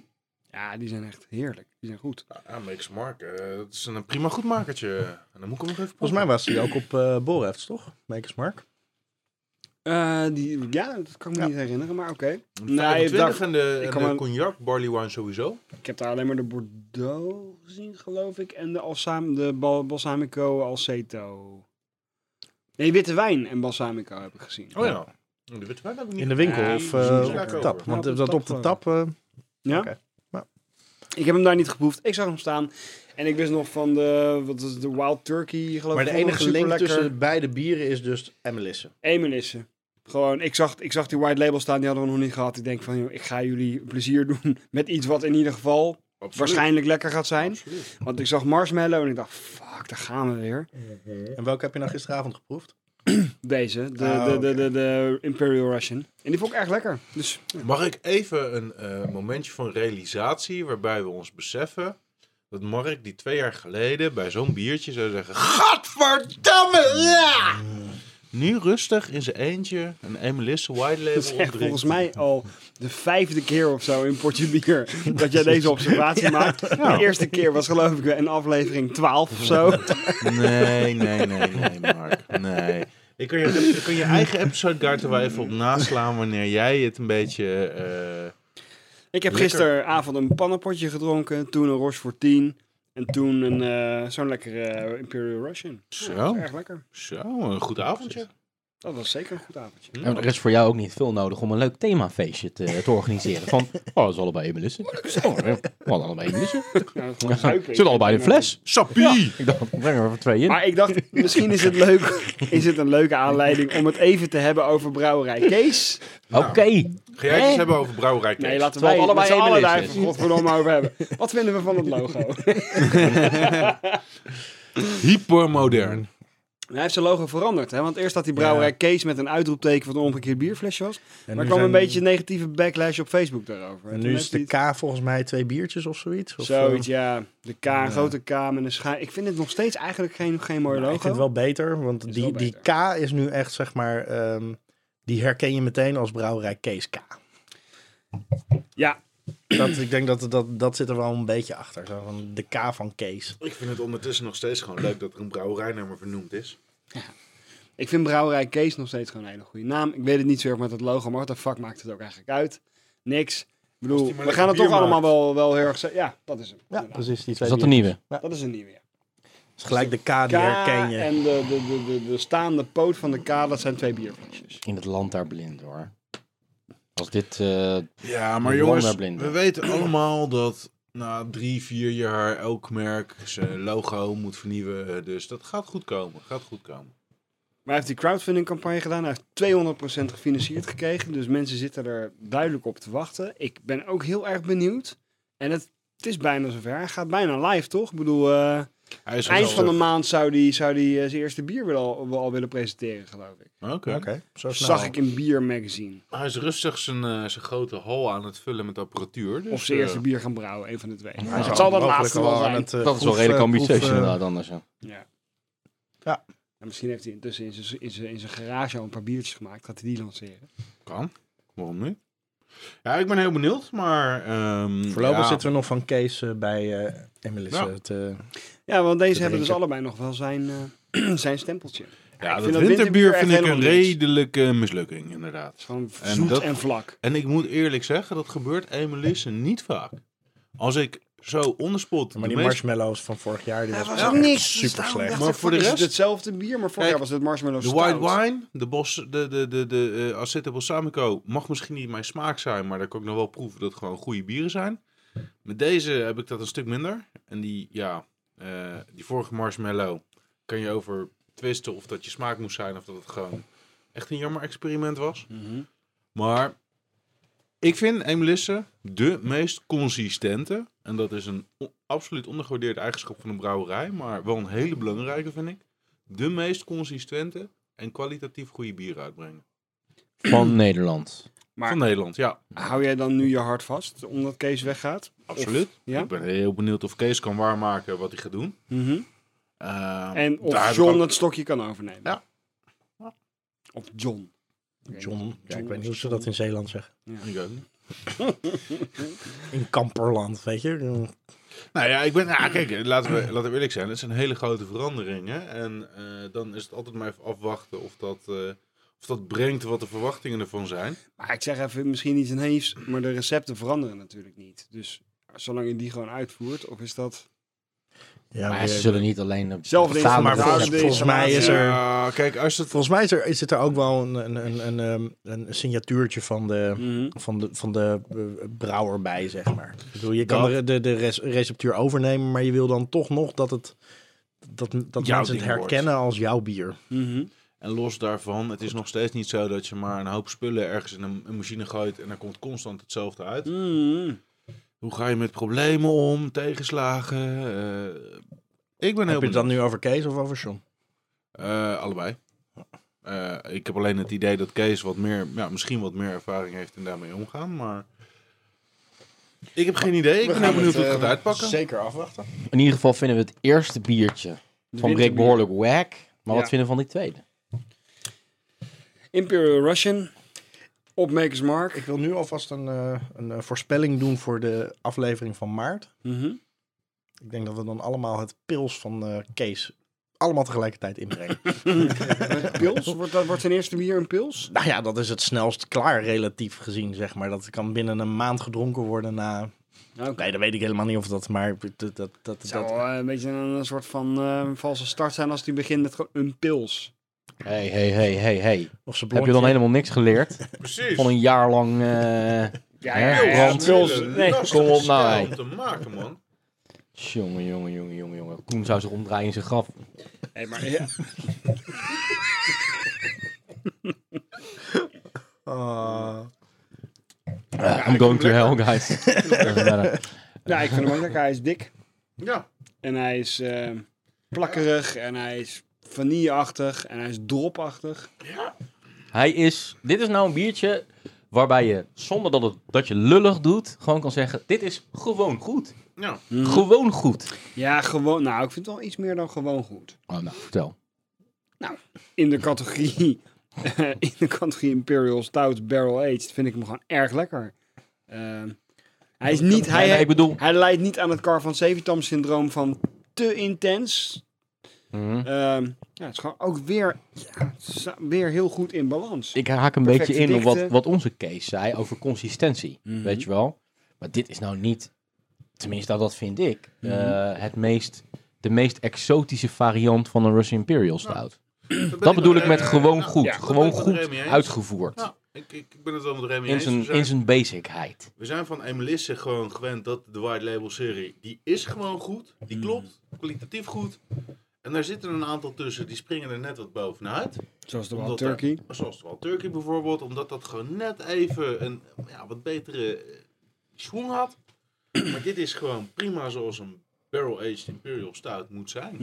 Ja, die zijn echt heerlijk. Die zijn goed.
Ja, Makers Mark, eh, dat is een prima goedmakertje. En dan moet ik hem nog even
Volgens mij was hij ook op eh Borefs, toch? Makers Mark.
Eh, die, ja, dat kan ik me
Ja.
niet herinneren, maar oké.
Nee,
Nee,
25
dag-
en de,
ik
en
kan
de
me-
cognac, barley wine sowieso.
Ik heb daar alleen maar de Bordeaux gezien, geloof ik. En de, Alsam, de Bal- Balsamico Alceto. Nee, witte wijn en Balsamico heb ik gezien.
Oh ja. De witte wijn heb ik niet.
In de winkel
Ja,
of
die
eh,
is
op
lekker
de tap.
over.
Want
Ja,
eh, dat op de tap... eh,
Ja?
Oké, nou.
Ik heb hem daar niet geproefd. Ik zag hem staan. En ik wist nog van de, wat is het, de Wild Turkey, geloof
maar
ik.
de
vond ik
enige link
superlekker.
tussen beide bieren is dus Emelissen.
Emelissen. Gewoon, ik zag, ik zag die white label staan, die hadden we nog niet gehad. Ik denk van, joh, ik ga jullie plezier doen [laughs] met iets wat in ieder geval
Absoluut.
waarschijnlijk lekker gaat zijn.
Absoluut.
Want ik zag marshmallow en ik dacht, fuck, daar gaan we weer.
En welke heb je nou gisteravond geproefd?
Deze, de,
Oh,
Ah,
de,
oké.
de, de, de Imperial Russian. En die vond ik echt lekker. Dus
Mag ik even een eh, momentje van realisatie waarbij we ons beseffen dat Mark die twee jaar geleden bij zo'n biertje zou zeggen: Gadverdamme! Ja! Nu rustig in zijn eentje een Emelisse White Label
dat is echt
opdrinkt.
volgens mij al de vijfde keer of zo in Portje Bier [laughs] dat jij deze
[laughs]
observatie maakt. De eerste keer was geloof ik in aflevering 12 of
[laughs]
zo.
Nee, nee, nee, nee, Mark. Nee. Ik kan je, je kan je eigen episode guide er wel even op naslaan wanneer jij het een beetje. eh,
Ik heb
Lekker.
gisteravond een pannenpotje gedronken, toen een Rochefort 10 en toen een, eh, zo'n lekkere eh, Imperial Russian.
zo,
Erg lekker.
zo, een goed avondje. Hm?
Dat was zeker een goed avondje.
Ja, maar er is voor jou ook niet veel nodig om een leuk themafeestje te, te organiseren. Van, [laughs] oh, dat is allebei Emelissen. Oh, ja, we hadden allebei Emelissen.
Nou,
[laughs]
gewoon zuipen.
Zitten allebei in een fles.
Sappie!
[laughs] Ik dacht, breng er even twee in.
Maar ik dacht, [laughs] misschien is het, leuk, is het een leuke aanleiding om het even te hebben over brouwerij Kees.
Oké.
Ga jij het
Hè?
eens hebben over brouwerij?
Nee,
Kees?
laten we
Terwijl
allemaal
allebei
allebei allen
Emilissen is.
daar even godverdomme over hebben. Wat vinden we van het [laughs] logo?
Hypermodern.
Hij heeft zijn logo veranderd, hè? want eerst had die brouwerij Kees met een uitroepteken van een omgekeerd bierflesje was.
En
maar
nu
er kwam een
zijn-
beetje negatieve backlash op Facebook daarover.
En
Toen
nu is
heeft hij
de
het-
K volgens mij twee biertjes of zoiets. Of,
Zoiets,
eh,
ja. De K, een grote K met een schaar. Ik vind het nog steeds eigenlijk geen, geen mooi
nou,
logo.
ik vind het wel beter, want
Is
die,
wel
die K is nu echt, zeg maar, ehm, die herken je meteen als brouwerij Kees K.
Ja,
Dat, ik denk dat, dat dat zit er wel een beetje achter, zo van de K van Kees.
Ik vind het ondertussen nog steeds gewoon leuk dat er een brouwerijnummer vernoemd is.
ik vind Brouwerij Kees nog steeds gewoon een hele goede naam. Ik weet het niet zo erg met het logo, maar wat de fuck maakt het ook eigenlijk uit? Niks. bedoel,
die maar
we gaan het
lekker
toch
bier
allemaal wel, wel heel erg... ze- Ja, dat is hem.
Ja,
inderdaad.
precies. Die
Is
twee
dat een
biertjes.
nieuwe?
Ja,
Dat is een nieuwe, ja.
is gelijk de K die
K
herken je.
en de, de, de, de, de staande poot van de K, dat zijn twee bierflesjes.
In het land daar blind hoor. Als dit... eh,
Ja, maar
De
jongens,
wonderblinden.
we weten allemaal dat na drie, vier jaar elk merk zijn logo moet vernieuwen. Dus dat gaat goed komen. Gaat goed komen.
Maar hij heeft die crowdfunding campagne gedaan. Hij heeft 200% gefinancierd gekregen. Dus mensen zitten er duidelijk op te wachten. Ik ben ook heel erg benieuwd. En het, het is bijna zover. Hij gaat bijna live, toch? Ik bedoel, eh,
Hij
eind
is gezellig.
van de maand zou hij zou die, eh, zijn eerste bier wel al, wel al willen presenteren, geloof ik.
Oké.
Oké, zo snel.
Zag ik in Bier Magazine.
Hij is rustig zijn, eh, zijn grote hal aan het vullen met apparatuur. Dus,
Of zijn
eh,
eerste bier gaan brouwen, een van de twee.
Hij is
het zal dat
mogelijk
laatste wel
al aan
zijn.
het, eh,
dat is wel
proef-
redelijk ambitieus
proef, eh,
inderdaad anders. Ja.
Ja.
Ja.
En misschien heeft hij intussen in zijn, in, zijn, in zijn garage al een paar biertjes gemaakt. Gaat hij die lanceren?
Kan. Waarom niet? Ja, ik ben heel benieuwd, maar... ehm,
Voorlopig
ja,
zitten we nog van Kees eh, bij eh Emelissa.
Ja.
Het, eh,
Ja, want deze hebben
Dat denk
dus
ik.
allebei nog wel zijn, eh, [clears throat] zijn stempeltje.
Ja,
vind
dat
dat
winterbier
winterbier
vind
echt
ik een
helemaal niks.
redelijke mislukking, inderdaad.
Het is gewoon
En
zoet
dat-
en vlak.
En ik moet eerlijk zeggen, dat gebeurt Emilisse niet vaak. Als ik zo onderspot...
maar die marshmallows van vorig jaar, die was,
was
echt
ook niks. Dus
super slecht.
Maar voor de
is het
rest-
hetzelfde bier, maar vorig
Kijk,
jaar was het marshmallow
De
stout.
white wine, de, bos, de, de, de, de eh, Aceto Balsamico mag misschien niet mijn smaak zijn, maar daar kan ik nog wel proeven dat het gewoon goede bieren zijn. Met deze heb ik dat een stuk minder. En die, ja, eh, die vorige marshmallow kan je over twisten of dat je smaak moest zijn of dat het gewoon echt een jammer experiment was.
Mhm.
Maar ik vind Emelisse de meest consistente. En dat is een o- absoluut ondergewaardeerde eigenschap van een brouwerij. Maar wel een hele belangrijke, vind ik. De meest consistente en kwalitatief goede bier uitbrengen.
Van Nederland.
Maar-
Van Nederland, ja.
Hou jij dan nu je hart vast, omdat Kees weggaat?
Absoluut.
ja?
Ik ben heel benieuwd of Kees kan waarmaken wat hij gaat doen.
Mhm.
Ehm,
En of
daar heb ik
John
ook-
het stokje kan overnemen.
Ja.
Of John.
John, ja, ik weet niet hoe ze dat in Zeeland zeggen.
Ik ook niet.
In Kamperland, weet je.
Nou ja, ik ben... [clears throat] Ah, kijk, laten we, laten we eerlijk zijn. Het zijn hele grote veranderingen. En eh, dan is het altijd maar even afwachten of dat, eh, of dat brengt wat de verwachtingen ervan zijn.
Maar ik zeg even, misschien iets naïefs, maar de recepten veranderen natuurlijk niet. Dus zolang je die gewoon uitvoert, of is dat...
Ja,
Maar
weer-
ze zullen niet alleen... de
Zelfde
bestaande
maar
recept-
volgens,
deze
volgens mij is er...
Ja, kijk, als het...
Volgens mij is er, zit er ook wel een, een, een, een, ehm, een signatuurtje van de,
Mhm,
van de, van de eh, brouwer bij, zeg maar. Ik bedoel, je kan
Dat-
de, de, de res- receptuur overnemen, maar je wil dan toch nog dat, het, dat, dat
Jouw
mensen het
ding wordt.
herkennen als jouw bier.
Mhm.
En los daarvan, het is nog steeds niet zo dat je maar een hoop spullen ergens in een, een machine gooit en er komt constant hetzelfde uit.
Mhm.
Hoe ga je met problemen om, tegenslagen? eh,
Heb je het
ik ben heel benieuwd.
dan nu over Kees of over John?
Eh, allebei. Eh, ik heb alleen het idee dat Kees wat meer, ja, misschien wat meer ervaring heeft en daarmee omgaan, maar... Ik heb geen idee. Ik ben heel benieuwd hoe het gaat
eh,
uitpakken.
eh, Zeker afwachten.
In ieder geval vinden we het eerste biertje van Rick
winterbier.
behoorlijk wack. Maar
Ja.
wat vinden we van die tweede?
Imperial Russian, op Makers Mark.
Ik wil nu alvast een, eh, een eh, voorspelling doen voor de aflevering van maart.
Mhm.
Ik denk dat we dan allemaal het pils van eh, Kees allemaal tegelijkertijd
[laughs]
inbrengen.
Eh, Pils? Wordt, dat, wordt zijn eerste bier een pils?
Nou ja, dat is het snelst klaar relatief gezien, zeg maar. Dat kan binnen een maand gedronken worden na...
Nou, Oké.
Nee, dat weet ik helemaal niet of dat, maar... Dat, dat, dat,
Het zou
dat...
wel, eh, een beetje een, een soort van eh, valse start zijn als die begint met gewoon een pils.
Hey, hey, hey, hey, hey.
Of ze
Heb je dan helemaal niks geleerd?
[laughs] Precies.
Van een jaar lang... eh,
Ja,
Hè?
ja, ja,
Brand.
pils. Nee.
kom op nou, hè.
om te maken, man.
[laughs] Jongen, jongen, jongen, jongen, jongen. Koen zou zich omdraaien in zijn graf.
Nee, maar, ja.
Ah,
I'm going to hell, guys. Doesn't matter.
ja, ik vind hem ook lekker. Hij is dik
Ja.
en hij is eh, plakkerig en hij is vanilleachtig en hij is dropachtig.
Hij is... Dit is nou een biertje waarbij je, zonder dat, het, dat je lullig doet, gewoon kan zeggen... Dit is gewoon goed.
ja.
Gewoon goed.
Ja, gewoon. Nou, ik vind het wel iets meer dan gewoon goed.
Oh, nou, vertel.
In de categorie, [laughs] eh, in de categorie Imperial Stout Barrel Aged vind ik hem gewoon erg lekker. Ehm, hij is niet.
Nee, nee,
Hij,
ik bedoel...
Hij leidt niet aan het Car van Sevitam syndroom van te intens.
Mhm.
Ehm, ja, het is gewoon ook weer, ja, het is weer heel goed in balans.
Ik haak een
Perfecte
beetje in op wat,
dikte.
Mhm.
wat onze Kees zei over consistentie. Weet je wel? Maar dit is nou niet, tenminste dat, dat vind ik,
Mhm.
eh, het meest, de meest exotische variant van een Russian Imperial stout. Dat bedoel ik met gewoon goed.
Eh, ja,
gewoon
dat ben ik met
goed
Remy eens.
uitgevoerd.
Ja, ik, ik ik ben het wel met Remy
in
eens. We
zijn, in
zijn,
zijn basicheid.
we zijn van Emelisse gewoon gewend dat de White Label serie, die is gewoon goed.
Mm.
Die klopt, kwalitatief goed. En daar zitten een aantal tussen, die springen er net wat bovenuit.
Zoals de Wild
Omdat er-
Turkey.
zoals de Wild Turkey bijvoorbeeld, omdat dat gewoon net even een ja, wat betere eh, schoen had. [clears throat] Maar dit is gewoon prima zoals een barrel-aged Imperial Stout moet zijn.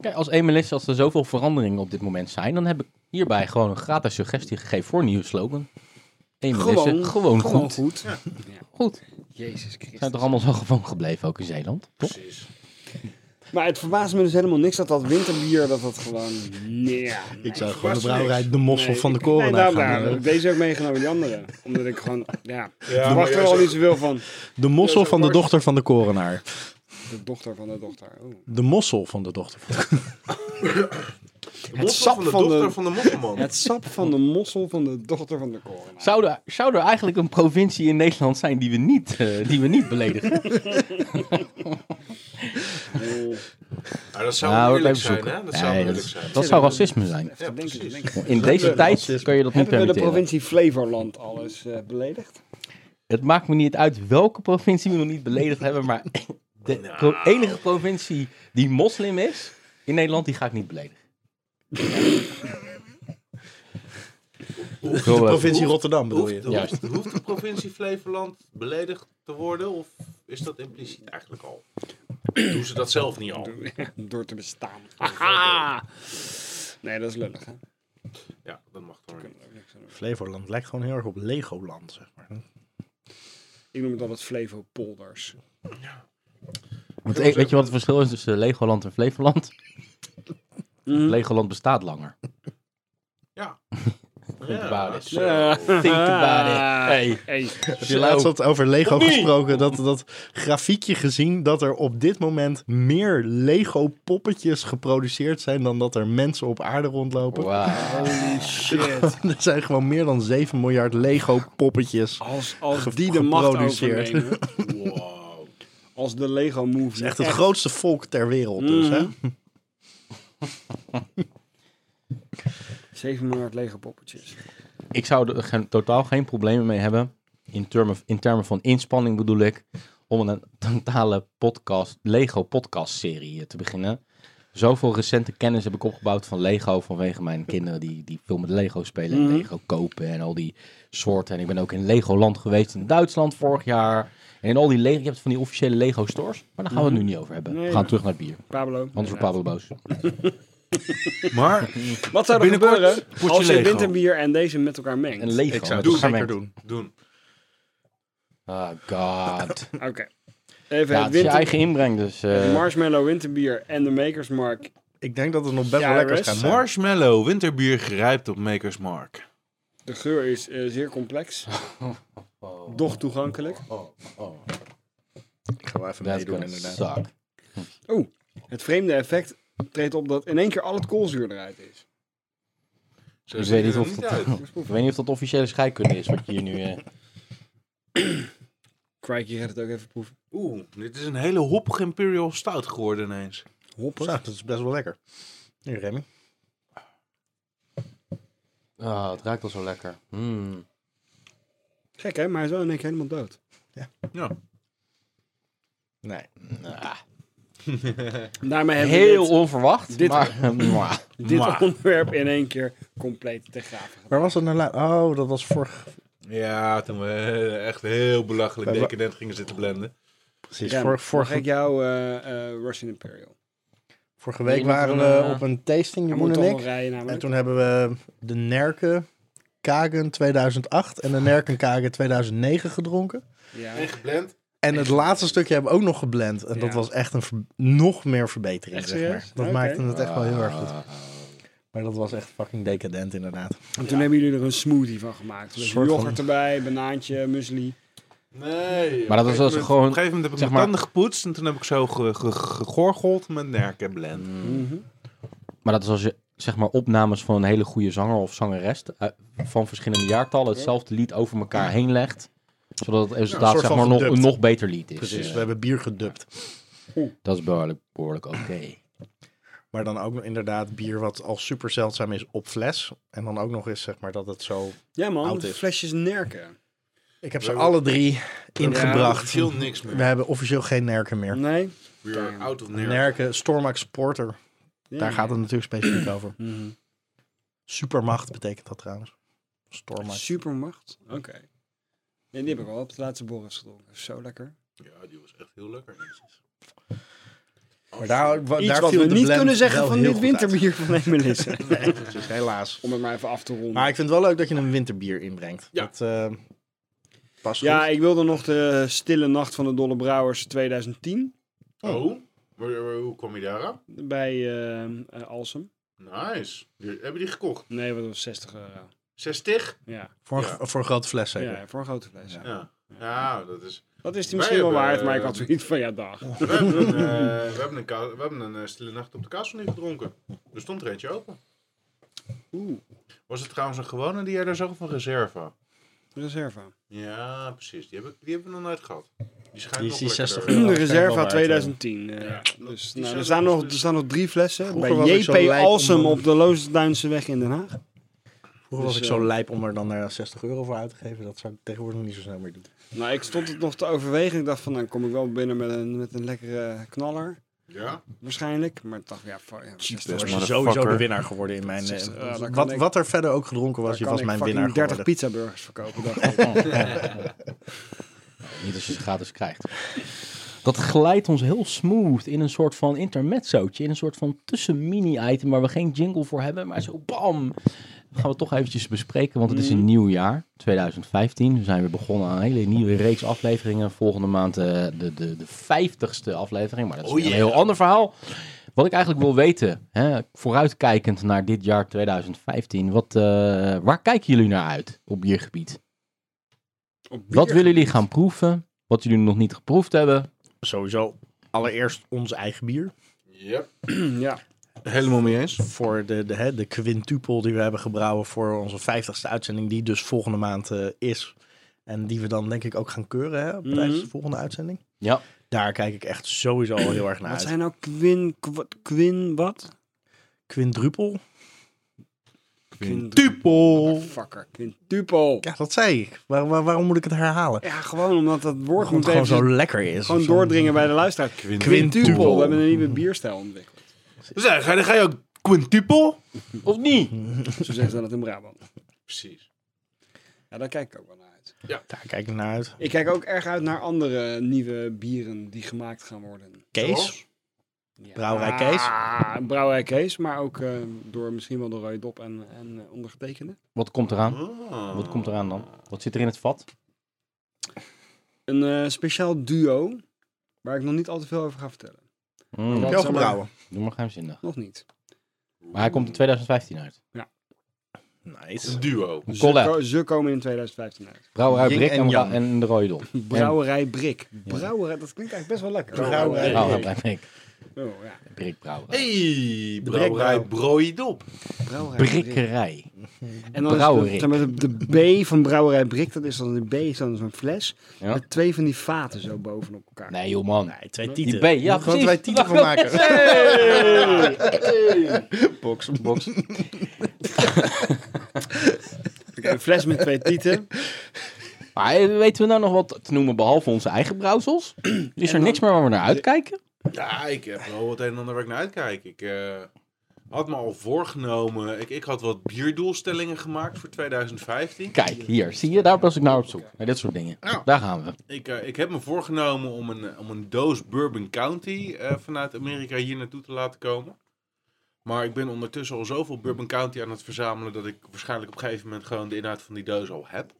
Kijk, als Emelis, als er zoveel veranderingen op dit moment zijn, dan heb ik hierbij gewoon een gratis suggestie gegeven voor een nieuwe slogan. Emelisse, gewoon,
Gewoon
goed.
goed.
Goed.
Jezus
We
Christus.
zijn toch allemaal zo gewoon gebleven, ook in Zeeland? Toch?
Precies.
Maar het verbaast me dus helemaal niks dat dat winterbier, dat dat gewoon... Ja,
Ik
nee.
zou gewoon de
niks.
brouwerij de mossel
Nee,
van de
ik- nee,
corona
daarom-
gaan eh,
daarom heb
noemen.
ik Deze ook meegenomen, die andere. Omdat ik gewoon, ja,
maar
ik wacht
jij
er al
zegt-
niet zoveel van.
De mossel
Ja, zo
van de
wordt-
dochter van de korenaar.
De dochter van de dochter. Oh.
De mossel van de dochter. van de-
De het
sap
van de
van de-
dochter van de mosselman.
Het sap van de mossel van de dochter van de corona.
Zou er, zou er eigenlijk een provincie in Nederland zijn die we niet, eh, die we niet
Nou,
beledigen?
Oh.
Maar dat zou
Nou,
nou,
dat
eerlijk
even
zijn,
zoeken.
hè? Dat
Nee,
zou
dat-
eerlijk zijn.
Dat zou racisme zijn.
Even denken,
precies.
denken.
In deze tijd kun je dat niet
Hebben we de
permitteren.
provincie Flevoland alles eh, beledigd?
Het maakt me niet uit welke provincie we nog niet beledigd hebben, maar [laughs] de
Nou.
pro- enige provincie die moslim is in Nederland, die ga ik niet beledigen. eh,
De provincie Rotterdam bedoel
Hoeft,
je.
Juist.
hoeft, hoeft de provincie Flevoland beledigd te worden? Of is dat impliciet eigenlijk
[clears throat]
al? Doen ze dat zelf niet al?
[laughs] Door te bestaan. Aha! Nee, dat is lullig, hè?
Ja, dat mag toch niet.
Flevoland lijkt gewoon heel erg op Legoland, zeg maar.
Ik noem het altijd Flevopolders.
Want, eh, weet je wat het verschil is tussen Legoland en Flevoland?
Mm.
Legoland bestaat langer.
[laughs]
Ja.
about it.
zo.
Think about it.
Ah.
Hey.
Hey.
Heb je laatst wat over Lego gesproken? Dat, dat grafiekje gezien dat er op dit moment meer Lego poppetjes geproduceerd zijn dan dat er mensen op aarde rondlopen. [laughs]
Wauw.
Holy shit.
Er zijn gewoon meer dan 7 miljard Lego poppetjes. Het
Als, als
Ge-
die de macht
geproduceerd.
overnemen.
Wow.
Als de Lego Movie.
is echt het grootste volk ter wereld dus, hè?
7 miljard Lego poppetjes.
Ik zou er geen- totaal geen problemen mee hebben. In termen, in termen van inspanning bedoel ik. Om een totale podcast, Lego podcast serie eh, te beginnen. Zoveel recente kennis heb ik opgebouwd van Lego. Vanwege mijn kinderen die, die veel met Lego spelen.
Mhm.
En Lego kopen en al die soorten. En ik ben ook in Legoland geweest in Duitsland vorig jaar. En in al die Lego, je hebt van die officiële Lego stores. Maar daar gaan we
Mhm.
het nu niet over hebben.
Nee,
we gaan
maar-
terug naar het bier.
Pablo.
Anders wordt Pablo boos.
Maar,
Wat zou er
Binnenkort
gebeuren
potje
als je
Lego.
winterbier en deze met elkaar mengt?
En Lego.
Ik zou
met
het
elkaar
zeker
mengt.
doen.
doen.
Ah,
[laughs]
god.
Oké. Even
Ja,
het
het is je
winter...
eigen inbreng dus. eh.
Marshmallow winterbier en de Makers Mark.
Ik denk dat het nog best wel
Ja,
lekker
rest.
gaat zijn.
Marshmallow, winterbier gerijpt op Maker's Mark.
De geur is eh, zeer complex. Doch toegankelijk.
Ik ga wel even
That's
meedoen
gonna
inderdaad.
suck.
Oeh, het vreemde effect treedt op dat in één keer al het koolzuur eruit is.
Zo
Ik
ziet
weet
het
niet,
er
of dat,
uit.
ik weet niet of dat officiële scheikunde is wat je hier nu... eh,
Crikey je gaat het ook even proeven.
Oeh, dit is een hele hoppig Imperial Stout geworden ineens.
Hoppen. dat is best wel lekker. Hier, Remy.
[laughs] Ah, het ruikt al zo lekker. Mm.
Gek hè, maar hij is wel in één keer helemaal dood.
Ja.
Nee.
Daarmee hebben we
Heel
dit,
onverwacht,
dit-
maar... [laughs] mwah.
dit
Maar.
onderwerp in één keer compleet te graven.
Waar was dat nou laat? Oh, dat was vorig,
Ja, toen we eh, echt heel belachelijk
Bij wa-
decadent gingen zitten blenden.
precies,
Rem,
vorig,
mag ik
vorige,
jou eh, eh, Russian Imperial?
vorige week
Je moet
waren
een,
we
eh,
op een tasting,
Hij
Jeroen
moet toch
en ik.
nog rijden
En
namelijk.
toen hebben we de Nerken Kagen 2008 en de Nerken Kagen 2009 gedronken.
Ja.
Geblend?
En het laatste stukje hebben we ook nog geblend. En dat
Ja.
was echt een ver- nog meer verbetering,
Echt
zeg maar.
serieus?
Dat
Oké. Ah.
maakte het echt wel heel erg goed. Maar dat was echt fucking decadent, inderdaad.
En toen hebben jullie er een smoothie van gemaakt. Dus
Soort van-
yoghurt erbij, banaantje, muesli.
Nee.
Maar dat was
Op een
als
gegeven moment-
gewoon,
Op een gegeven moment heb
zeg
ik mijn
maar-
tanden gepoetst en toen heb ik zo ge- ge- gegorgeld met nerken blend.
Mhm.
Maar dat is als je zeg maar opnames van een hele goede zanger of zangeres... eh, van verschillende jaartallen hetzelfde lied over elkaar heen legt... Zodat het
Ja, een
resultaat
soort
zeg
van
maar nog, een
gedubt.
nog beter lied is.
Precies,
Eh,
we hebben bier gedubt.
dat is behoorlijk, behoorlijk oké.
Maar dan ook nog inderdaad bier wat al super zeldzaam is op fles. En dan ook nog eens zeg maar dat het zo...
Ja man,
Oud
de
is.
flesjes nerken.
Ik heb ze alle drie ingebracht.
Officieel niks meer.
We hebben officieel geen nerken meer.
Nee?
We are out of nerve.
Nerken, Stormax Porter.
Ja. Mhm.
Daar gaat het natuurlijk specifiek over. Supermacht betekent dat trouwens. Stormax.
Supermacht? Oké. Nee, die heb ik al op de laatste Boris gedronken. Zo lekker.
Oh,
Ja, die was echt heel lekker.
Maar daar, wa-
Iets
daar
wat
viel
we
de
niet
blend
kunnen zeggen
wel
van
heel
dit
goed uit.
winterbier van Emelisse.
[laughs] Nee, dat is helaas.
Om het maar even af te ronden.
[laughs] Maar ik vind het wel leuk dat je een winterbier inbrengt.
Ja.
Dat eh, past
ja,
goed.
ik wilde nog de Stille Nacht van de Dolle Brouwers 2010
Oh, maar- maar hoe kwam je daarop?
bij eh, eh, Alsem.
Nice. Die- Hebben die gekocht?
Nee, wat was het, 60 euro.
60?
Ja,
Voor, een,
Ja.
gro- voor een grote fles zeker.
ja voor een grote fles.
Ja. Ja, dat [laughs] is...
Dat is die
Wij
misschien wel
hebben,
waard, maar ik had
eh,
zoiets van ja, dag.
We hebben een, eh, we hebben een, ka- we hebben een eh, stille nacht op de kaasvlieg gedronken. Er stond er eentje open.
Oeh,
Was het trouwens een gewone die jij daar zag of een reserve?
Reserva.
Ja, precies. Die hebben, die hebben we nog nooit gehad. Die schijnt
Die is
nog
die 60
lekkerder.
De
waarschijnlijk wel
Reserva
waard,
2010. eh,
Ja.
dus,
Die
nou,
zijn
er,
er
staan nog,
dus-
er staan nog drie flessen
Vroeger was
bij
ik zo
JP
lijp om
Alsem
dan-
op de Loosduinse weg in Den Haag.
Vroeger
Dus,
was ik
eh,
zo lijp om er dan eh, 60 euro voor uit te geven. Dat zou ik tegenwoordig niet zo snel meer doen.
Nou, ik stond het nog te overwegen. Ik dacht van, dan kom ik wel binnen met een, met een lekkere knaller.
Ja,
waarschijnlijk. Maar ik dacht, ja, fuck, ja, 60
was
euro.
je sowieso de winnaar geworden in mijn... eh,
60, ja, daar kan
wat,
ik-
wat er verder ook gedronken was,
Daar
je
kan
was
ik
mijn
fucking
winnaar
30
geworden. Oh,
pizzaburgers verkopen. dacht
[laughs]
ik.
Niet als je ze gratis krijgt. Dat glijdt ons heel smooth in een soort van intermezzootje. In een soort van tussen-mini-item waar we geen jingle voor hebben. Maar zo bam! Dat gaan we toch eventjes bespreken, want het is
Mhm.
een nieuw jaar. 2015. We zijn weer begonnen aan een hele nieuwe reeks afleveringen. Volgende maand eh, de, de, de 50ste aflevering. Maar dat is
Oh
weer
yeah.
een heel ander verhaal. Wat ik eigenlijk wil weten, hè, vooruitkijkend naar dit jaar 2015. Wat, eh, waar kijken jullie naar uit op biergebied?
Op bier.
Wat willen jullie gaan proeven? Wat jullie nog niet geproefd hebben?
Sowieso allereerst ons eigen bier.
Yep.
oh. Nou,
Ja,
Helemaal mee eens.
Voor de, de, hè, de quintupel die we hebben gebrouwen voor onze 50ste uitzending. Die dus volgende maand eh, is. En die we dan denk ik ook gaan keuren hè,
Mhm.
tijdens de volgende uitzending.
Ja.
Daar kijk ik echt sowieso al heel erg naar
wat
uit.
zijn nou Quin, kwa- Quin, wat?
Quindrupel?
Tupel.
Fucker, Quintupel.
Ja, dat zei ik. Waar- waar- waarom moet ik het herhalen?
Ja, gewoon omdat dat woord
Omdat
moet
het gewoon
even
zo lekker is.
gewoon
of zo.
doordringen bij de luisteraar. Quintupel. We hebben een nieuwe bierstijl ontwikkeld.
Dus ja, ga, ga je ook quintupel?
Of niet?
Zo zeggen ze dat in Brabant.
Precies.
Ja, daar kijk ik ook wel naar uit.
Daar kijk ik naar uit.
Ik kijk ook erg uit naar andere nieuwe bieren die gemaakt gaan worden.
Kees?
Zoals?
Ja.
Brouwerij Kees?
Ah, Brouwerij Kees, maar ook eh, door misschien wel door Roy Dop en, en eh, ondergetekende.
Wat komt eraan?
Ah.
Wat komt eraan dan? Wat zit er in het vat?
Een eh, speciaal duo, waar ik nog niet al te veel over ga vertellen.
Mm,
Wat?
Wel gebrouwen.
Doe maar geheimzinnig.
Nog niet.
Maar hij komt in 2015 uit.
Nice.
Een duo.
Een
Ze,
collab.
ko- ze komen in 2015 uit.
Brouwerij
Ying
Brik
Dus en
en,
Yang.
en de Rooidel.
[laughs]
En-
Brouwerij Brik. Brouwerij, dat klinkt eigenlijk best wel lekker.
Brouwerij
Brouwerij Brik.
Oh, ja.
Brik Brouwerij.
Hey, brouwerij
breakbrouw.
Brooidop.
Brouwerij Brik.
Brikkerij.
En dan is
Brouwerik.
het- zeg maar, de, de B van Brouwerij Brik, dat is dan de B, is dan zo'n fles.
Ja.
Met twee van die vaten zo bovenop elkaar.
Nee joh man.
Nee, twee
Die
tieten.
B. Ja
Gewoon
precies.
twee tieten van maken.
Box, box.
Oké, [laughs] Een fles met twee tieten.
Maar eh, weten we nou nog wat te noemen behalve onze eigen
[clears throat]
brouwsels? Is er niks meer waar we naar uitkijken?
Ja, ik heb wel wat een en ander waar ik naar uitkijk. Ik eh, had me al voorgenomen. Ik, ik had wat bierdoelstellingen gemaakt voor 2015.
Kijk, hier. Zie je? Daar was ik naar op zoek. Naar dit soort dingen.
Nou.
Ja.
Daar gaan we.
Ik, eh, ik heb me voorgenomen om een, eh, om een doos Bourbon County eh, vanuit Amerika hier naartoe te laten komen. Maar ik ben ondertussen al zoveel Bourbon County aan het verzamelen dat ik waarschijnlijk op een gegeven moment gewoon de inhoud van die doos al heb.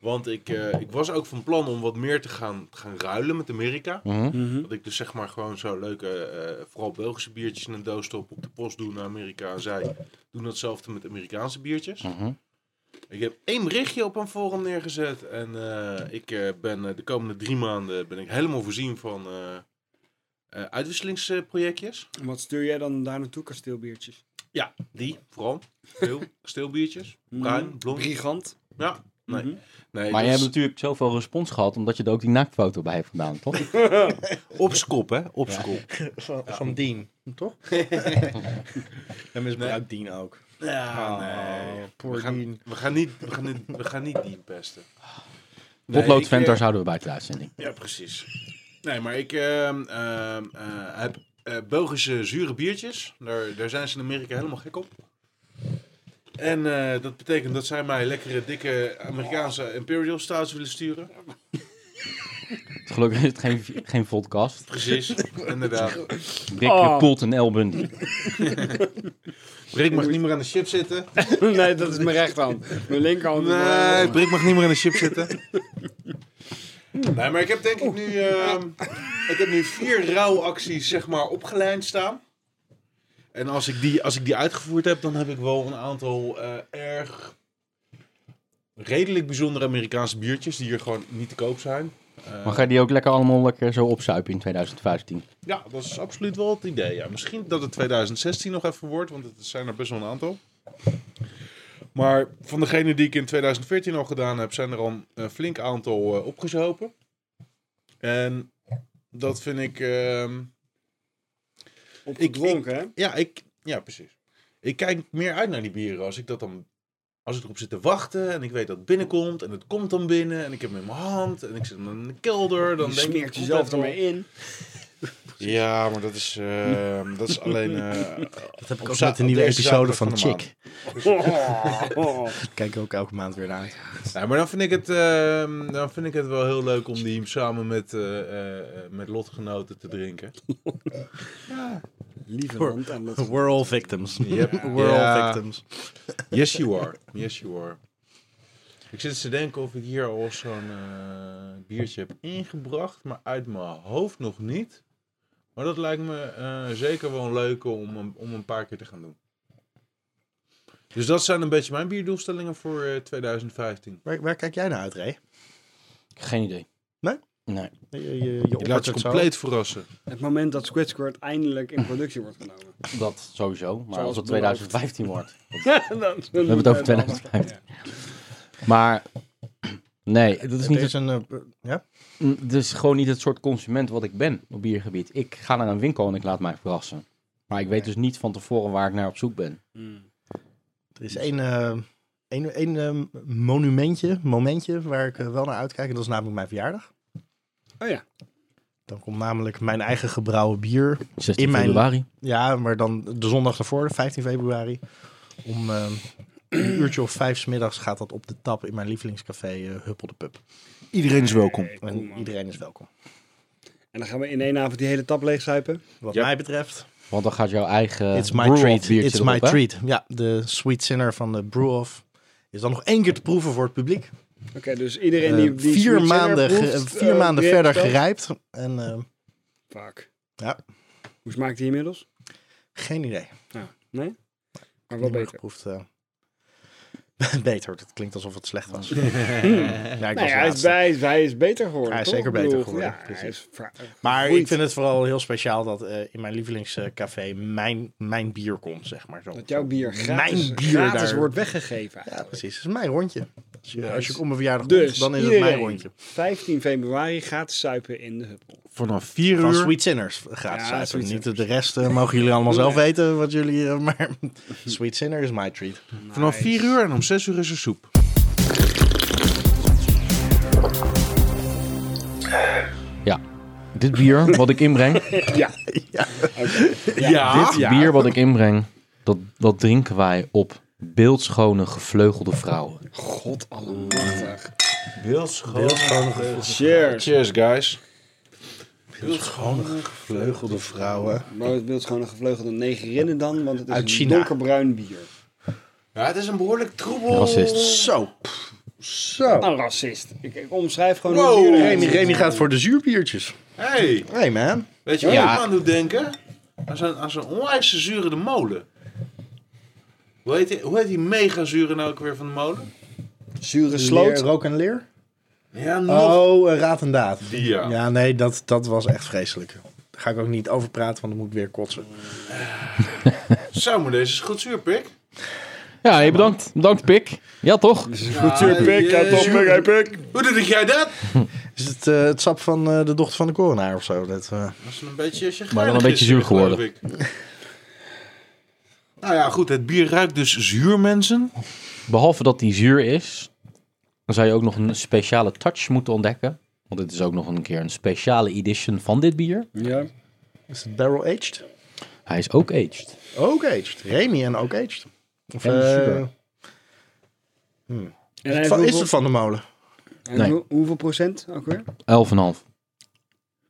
Want ik, eh, ik was ook van plan om wat meer te gaan, gaan ruilen met Amerika.
Mhm.
Dat ik dus zeg maar gewoon zo leuke, eh, vooral Belgische biertjes in een doos stop, op de post doen naar Amerika. En zij doen datzelfde met Amerikaanse biertjes.
Mhm.
Ik heb één berichtje op een forum neergezet. En eh, ik eh, ben eh, de komende drie maanden ben ik helemaal voorzien van eh, eh, uitwisselingsprojectjes.
En Wat stuur jij dan daar naartoe, kasteelbiertjes?
Ja, die vooral. Veel stilbiertjes. Bruin, blond.
Brigant.
Ja, Nee.
Mhm.
nee dus
Maar je
dat
hebt
is
natuurlijk zoveel respons gehad, omdat je er ook die naaktfoto bij hebt gedaan, toch?
op z'n kop, hè? Op z'n kop.
Van, van Dien, toch? en misbruikt Dien ook.
Ja,
nee.
We
Poor
gaan,
Dien.
Ah, we gaan niet, we gaan niet, we gaan niet Dien pesten. Nee, ik,
Potloodvent,
eh,
daar zouden we buiten de uitzending.
Ja, precies. Nee, maar ik ehm, ehm, eh, heb eh, Belgische zure biertjes. Daar, daar zijn ze in Amerika helemaal gek op. En eh, dat betekent dat zij mij lekkere, dikke Amerikaanse Imperial Stouts willen sturen.
Gelukkig is het geen, geen podcast.
Precies, [laughs] inderdaad.
Rick
Oh.
Poelt en El Bundy.
Rick mag niet meer aan de chip zitten.
[laughs] nee, dat is mijn rechterhand. Mijn linkerhand. is wel-
Nee, Brik mag niet meer in de chip zitten. Nee, maar ik heb denk ik nu, ehm, ik heb nu vier rouwacties zeg maar opgelijnd staan. En als ik, die, als ik die uitgevoerd heb, dan heb ik wel een aantal eh, erg redelijk bijzondere Amerikaanse biertjes die hier gewoon niet te koop zijn. Eh,
Maar ga je die ook lekker allemaal lekker zo opzuipen in 2015?
ja, dat is absoluut wel het idee. Ja. Misschien dat het 2016 nog even wordt, want het zijn er best wel een aantal. Maar van degene die ik in 2014 al gedaan heb, zijn er al een flink aantal eh, opgezopen. En dat vind ik. ehm,
Opgedronken, hè?
ja, ik, ja, precies. Ik kijk meer uit naar die bieren als ik dat dan. Als ik erop zit te wachten en ik weet dat het binnenkomt en het komt dan binnen en ik heb hem in mijn hand en ik zit hem in de kelder, dan
Je
denk ik.
smeert
het komt
jezelf
even wel.
ermee in.
Ja, maar dat is, ehm, dat is alleen. eh, [laughs]
Dat heb ik
Op
ook
za-
met de
op
nieuwe
deze
episode
zaterdag
van
van de
Chick.
Oh, oh.
Dat kijk ik ook elke maand weer naar uit.
Ja, maar dan vind, ik het, ehm, dan vind ik het wel heel leuk om die samen met, eh, eh, eh, met lotgenoten te drinken.
Lieve land en dat
We're all victims. [laughs]
Yep.
We're
Ja.
all victims.
Yes, you are. Yes, you are. Ik zit eens te denken of ik hier al zo'n eh, biertje heb ingebracht, maar uit mijn hoofd nog niet. Maar dat lijkt me eh, zeker wel een leuke om, een- om een paar keer te gaan doen. Dus dat zijn een beetje mijn bierdoelstellingen voor eh, 2015.
Waar, waar kijk jij naar uit, Ray?
Geen idee.
Nee?
Nee.
Je, je, je
Je laat
oppert
je
het zo.
compleet verrassen.
Het moment dat Squid Squirt eindelijk in productie wordt [laughs] genomen.
Dat sowieso, maar
Zoals
als het
beloofd.
2015 wordt.
Dan zullen
We hebben het over
dan-
2015. [laughs] Maar nee, dat is niet
Het is een... eh, ja?
het, het is gewoon niet het soort consument wat ik ben op biergebied. Ik ga naar een winkel en ik laat mij verrassen. Maar ik weet dus niet van tevoren waar ik naar op zoek ben.
Hmm.
Er is één... eh, één- één, eh, monumentje, momentje waar ik eh, wel naar uitkijk. En dat is namelijk mijn verjaardag.
Oh ja.
Dan komt namelijk mijn eigen gebrouwen bier
16
In mijn-
februari.
Ja, maar dan de zondag daarvoor, 15 februari. Om ehm, een uurtje of vijf 's middags gaat dat op de tap in mijn lievelingscafé eh, Huppel de Pub.
Iedereen is welkom.
Hey, cool,
En
man.
iedereen is welkom.
En dan gaan we in één avond die hele tap leegzuipen.
Wat
Ja.
mij betreft,
Want dan gaat jouw eigen
it's my
eh, brew-off
treat.
biertje
It's
erop,
my
hè?
treat. Ja, de Sweet Sinner van de Brew Off is dan nog één keer te proeven voor het publiek.
Oké, dus iedereen die,
Eh,
die
vier
Sweet Sinner
maanden, ge-
proeft,
vier
eh,
maanden
die
verder
heeft dat.
gerijpt. En eh,
Fuck.
Ja.
Hoe smaakt die inmiddels?
geen idee.
Ja. Nee? Maar wel
Niet meer
beter.
geproefd. eh. [laughs] beter, dat klinkt alsof het slecht
[laughs]
was. ja, ik
Nou
was
ja, hij, is,
laatste.
hij, is, hij is beter geworden.
Hij is
toch?
zeker
Ik bedoel,
beter geworden,
Ja, hij is vra-
Maar
gegroeid.
ik vind het vooral heel speciaal dat eh, in mijn lievelingscafé mijn, mijn bier komt, zeg maar zo.
dat jouw bier gratis,
Mijn bier
gratis
daar-
wordt weggegeven.
Ja, precies. Het is mijn rondje. Als je, als je op mijn verjaardag
Dus
komt, dan is
iedereen,
het mijn rondje.
15 februari gaat zuipen in de huppel.
Vanaf 4
Van
uur.
Sweet Sinners eh, gratis
Ja,
uit.
Sweet
Niet de-
Sinners.
de rest eh, mogen jullie allemaal zelf weten wat jullie... eh, maar [laughs] Sweet Sinner is my treat.
Vanaf 4 uur en om 6 uur is er soep.
Ja. Dit bier wat ik inbreng,
[laughs]
Ja.
Ja,
Ah,
dit bier wat ik inbreng, dat, dat drinken wij op beeldschone gevleugelde vrouwen.
God allemachtig.
Beeldschoon.
Cheers.
Cheers, guys.
Vleugelde vrouwen.
Maar het beeld is gewoon een gevleugelde negerinnen dan, want het is
Uit
een
China.
donkerbruin bier.
Ja, het is een behoorlijk troebel.
Racist.
Zo. Zo.
Een Nou, racist. Ik, ik omschrijf gewoon
Wow.
hoe bier
Remy,
eruit
Remy gaat voor de zuurbiertjes.
Hey,
Hey man.
weet je wat
Ja.
ik me aan doet denken? Aan zo'n, aan zo'n onwijs zure de molen. Hoe heet, die, hoe heet die mega zure nou ook weer van de molen?
ziet. Zure
Leer,
sloot.
rook en leer?
Ja, nog.
Oh, eh, raad en daad.
Die, ja.
Ja, nee, dat, dat was echt vreselijk. Daar ga ik ook niet over praten, want dan moet ik weer kotsen.
Zo, maar deze is goed zuur, pik.
Ja, hey, bedankt. Bedankt, Pik. Ja, toch?
Ah,
Natuurlijk, ja, toch, mega pik.
Hoe doe ik jij dat?
Is het eh, het sap van eh, de dochter van de coronaar of zo? Dat, eh,
Was een beetje chagrijnig
Maar wel een beetje zuur
gisteren,
geworden.
geloof ik. [laughs] nou ja, goed. Het bier ruikt dus zuur, mensen.
Behalve dat die zuur is, dan zou je ook nog een speciale touch moeten ontdekken. Want dit is ook nog een keer een speciale edition van dit bier.
Ja.
is het barrel aged?
Hij is ook aged.
Ook aged. Remy en ook aged. Of,
En
eh,
sugar.
En hij
van-
heeft
is
hoeveel-
het van de molen?
en
Nee.
hoe- hoeveel procent ook weer? Oh
11,5.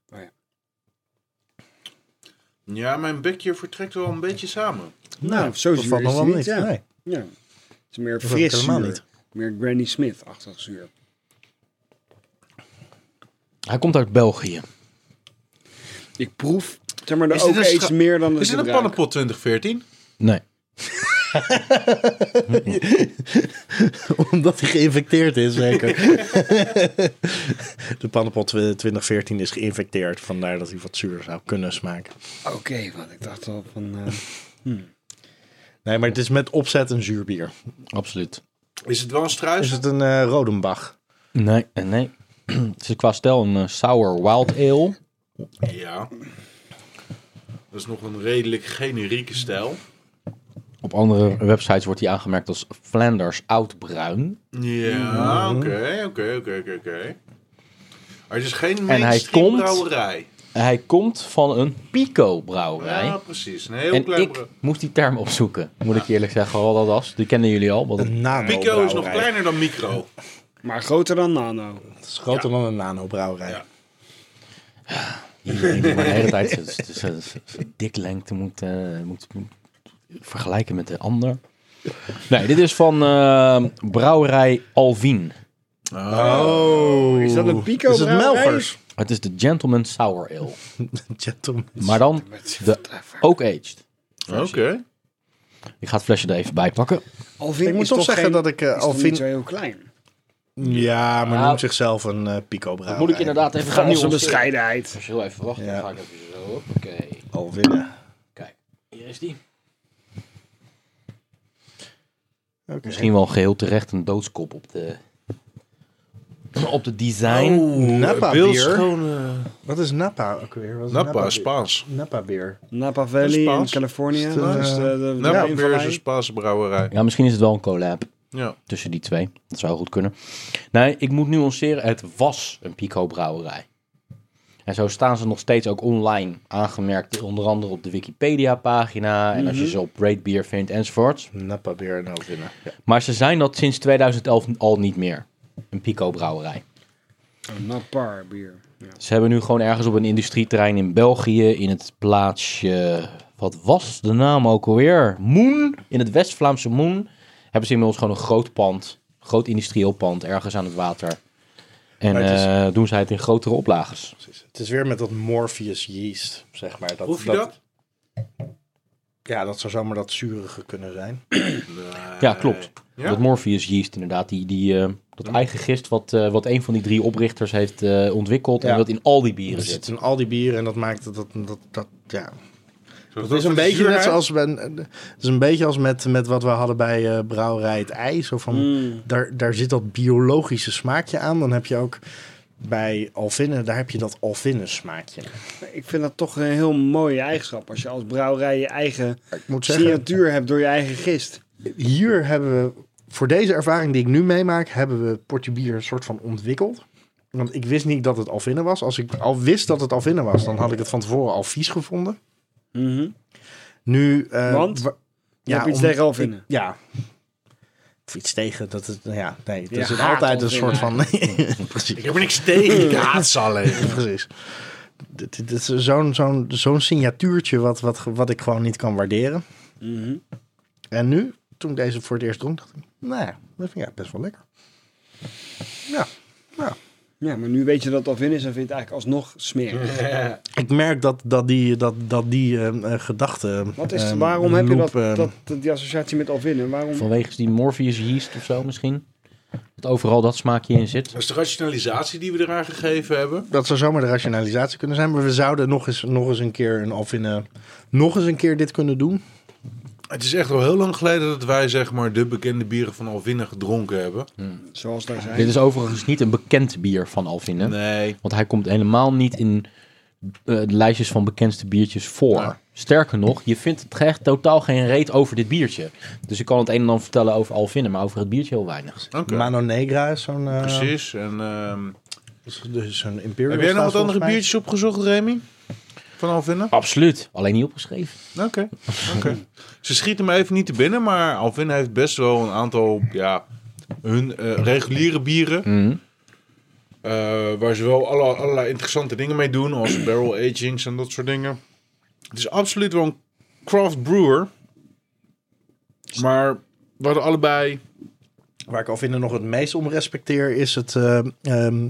Nou,
Ja, mijn bekje vertrekt wel een beetje samen.
Nou, zo
dat
zuur
valt
is
nog wel
die
niet.
niet, ja.
Nee,
Ja. Het is meer
dat is
fris
helemaal
zuur.
niet.
Meer Granny Smith-achtig zuur.
Hij komt uit België.
Ik proef, zeg maar, er
Is dit
ook
een
iets
scha-
meer dan
Is
het
dit een
gebruik.
pannenpot 2014?
Nee.
[laughs] Omdat hij geïnfecteerd is, zeker. [laughs] de pannenpot 2014 is geïnfecteerd. Vandaar dat hij wat zuur zou kunnen smaken.
Oké, want ik dacht al van... eh,
Nee, maar het is met opzet een zuur bier.
Absoluut.
Is het wel een
Is
struis?
het een eh Rodenbach?
Nee, en nee. [clears throat] Het is qua stijl een eh, sour wild ale.
Ja. Dat is nog een redelijk generieke stijl.
Op andere websites wordt hij aangemerkt als Flanders oudbruin.
Ja, oké, oké, oké, oké, oké. Maar het is geen
hij
mainstream
komt-
brouwerij.
Hij komt van een Pico brouwerij.
Ja, precies. Een heel
en
klein
ik
brou-
moest die term opzoeken, moet ik eerlijk zeggen. Wat dat was. Die kennen jullie al. want
[laughs]
het-
Een nano
Pico is nog kleiner dan micro.
maar groter dan Nano.
Het is groter dan een nanobrouwerij.
Ja.
Iedereen die maar de hele tijd zijn- zijn- zijn- zijn- zijn diklengte moet, eh, moet, moet vergelijken met de ander. Nee, dit is van eh, brouwerij Alvin.
Oh.
Is dat een Pico
Is het
brouwerij?
Melvers?
Het is de Gentleman Sour Ale.
Gentleman.
Maar dan de ook aged.
Oké.
Ik ga het flesje er even bij pakken.
Alvin
Ik moet
is
toch zeggen
geen-
dat ik, eh,
is toch
Alvin-
niet zo heel klein.
Ja, maar
Ah.
noemt zichzelf een eh Pico brouwerij.
Moet ik inderdaad even gaan
Valse
nuanceren.
bescheidenheid.
Als je heel even wacht,
Ja.
dan ga ik even zo. Hoppakee.
Al winnen.
Kijk, hier is die.
Oké.
Misschien wel geheel terecht een doodskop op de, [clears throat] op de design.
Oh. Napa bier.
Beeldschone...
Wat is Napa ook weer? Wat is
Napa,
bier?
Spaans.
Napa bier.
Napa Valley in
Spaans.
Californië.
Is het,
Dat
eh,
is de, de,
Napa
de
Beer is
vallei.
een Spaanse brouwerij.
Ja, misschien is het wel een collab.
Ja.
tussen die twee. Dat zou goed kunnen. Nee, ik moet nuanceren. Het was een Pico-brouwerij. En zo staan ze nog steeds ook online aangemerkt. Onder andere op de Wikipedia-pagina. En als je ze op Rate Beer vindt enzovoort.
Napa bier en al winnen. Ja.
Maar ze zijn dat sinds 2011 al niet meer. Een Pico-brouwerij.
Oh, Napa bier. Ja.
Ze hebben nu gewoon ergens op een industrieterrein in België. In het plaatsje... Wat was de naam ook alweer? Moen. In het West-Vlaamse Moen. Hebben ze inmiddels gewoon een groot pand. Groot industrieel pand. Ergens aan het water. En
Maar het is-
eh, doen zij het in grotere oplages.
Precies. Het is weer met dat Morpheus yeast, zeg maar. Dat,
Hoef je dat?
Ja, dat zou zomaar dat zurige kunnen zijn.
Ja, klopt.
eh,
Ja?
Dat Morpheus yeast inderdaad. Die, die, eh, dat eigen gist wat, eh, wat een van die drie oprichters heeft eh, ontwikkeld.
Ja. Dus
En wat in al die bieren
Er
zit.
zit in al die bieren en dat maakt dat... dat, dat, dat ja.
Zodat
Het is
van
een
de
beetje
zuurheid-
net zoals bij, een- het is een beetje als met, met wat we hadden bij eh, Brouwerij het IJ. Zo van,
Mm.
Hmm.
daar, daar zit dat biologische smaakje aan. Dan heb je ook bij Alvinnen, daar heb je dat Alvinnen smaakje.
Ik vind dat toch een heel mooie eigenschap. Als je als brouwerij je eigen
Ik moet zeggen,
signatuur hebt door je eigen gist.
hier hebben we, voor deze ervaring die ik nu meemaak, hebben we Portje Bier een soort van ontwikkeld. Want ik wist niet dat het Alvinnen was. Als ik al wist dat het Alvinnen was, dan had ik het van tevoren al vies gevonden.
Mhm.
Nu, eh,
Want?
wa-
Je hebt iets
om-
tegen Alvinnen.
ik- Ja. Of iets tegen dat het, nou ja, nee, er
Je
zit
haat
altijd een soort van. [laughs]
Alvinnen.
precies.
Ik heb er niks tegen.
[laughs]
Ik haat ze alleen.
precies. Dit, dit is zo'n zo'n zo'n signatuurtje wat, wat, wat ik gewoon niet kan waarderen.
Mhm.
En nu, toen ik deze voor het eerst dronk, dacht ik, nou ja, dat vind ik best wel lekker. Ja, ja.
Ja, maar nu weet je dat het Alvin is en vind je het eigenlijk alsnog smerig.
Ik merk dat, dat die, dat, dat die eh, eh, gedachte...
Wat is,
eh,
waarom heb je dat,
loop, eh,
dat, dat- die associatie met Alvin? En waarom?
Vanwege die Morpheus yeast of zo misschien. Dat overal dat smaakje in zit.
Dat is de rationalisatie die we eraan gegeven hebben.
dat zou zomaar de rationalisatie eh, kunnen zijn. Maar we zouden nog eens, nog eens een keer een Alvinne, nog eens een keer dit kunnen doen.
Het is echt al heel lang geleden dat wij zeg maar de bekende bieren van Alvinne gedronken hebben.
Zoals daar zijn.
Dit is overigens niet een bekend bier van Alvin.
Nee.
Want hij komt helemaal niet in eh, de lijstjes van bekendste biertjes voor.
Ja.
Sterker nog, je vindt het echt totaal geen reet over dit biertje. Dus ik kan het een en ander vertellen over Alvinne, maar over het biertje heel weinig.
Oké.
Mano Negra is zo'n... eh,
Precies. En, ehm,
Dus zo'n imperial
heb jij nog
stout
wat andere
volgens mij.
biertjes opgezocht, Remy? Van Alvinne?
Absoluut. Alleen niet opgeschreven.
Oké. oké. Ze schieten me even niet te binnen, maar Alvin heeft best wel een aantal ja, hun eh, reguliere bieren. eh, waar ze wel alle, allerlei interessante dingen mee doen, als [clears throat] barrel agings en dat soort dingen. Het is absoluut wel een craft brewer. Maar we hadden allebei
Waar ik al vinden nog het meest om respecteer is het eh, ehm,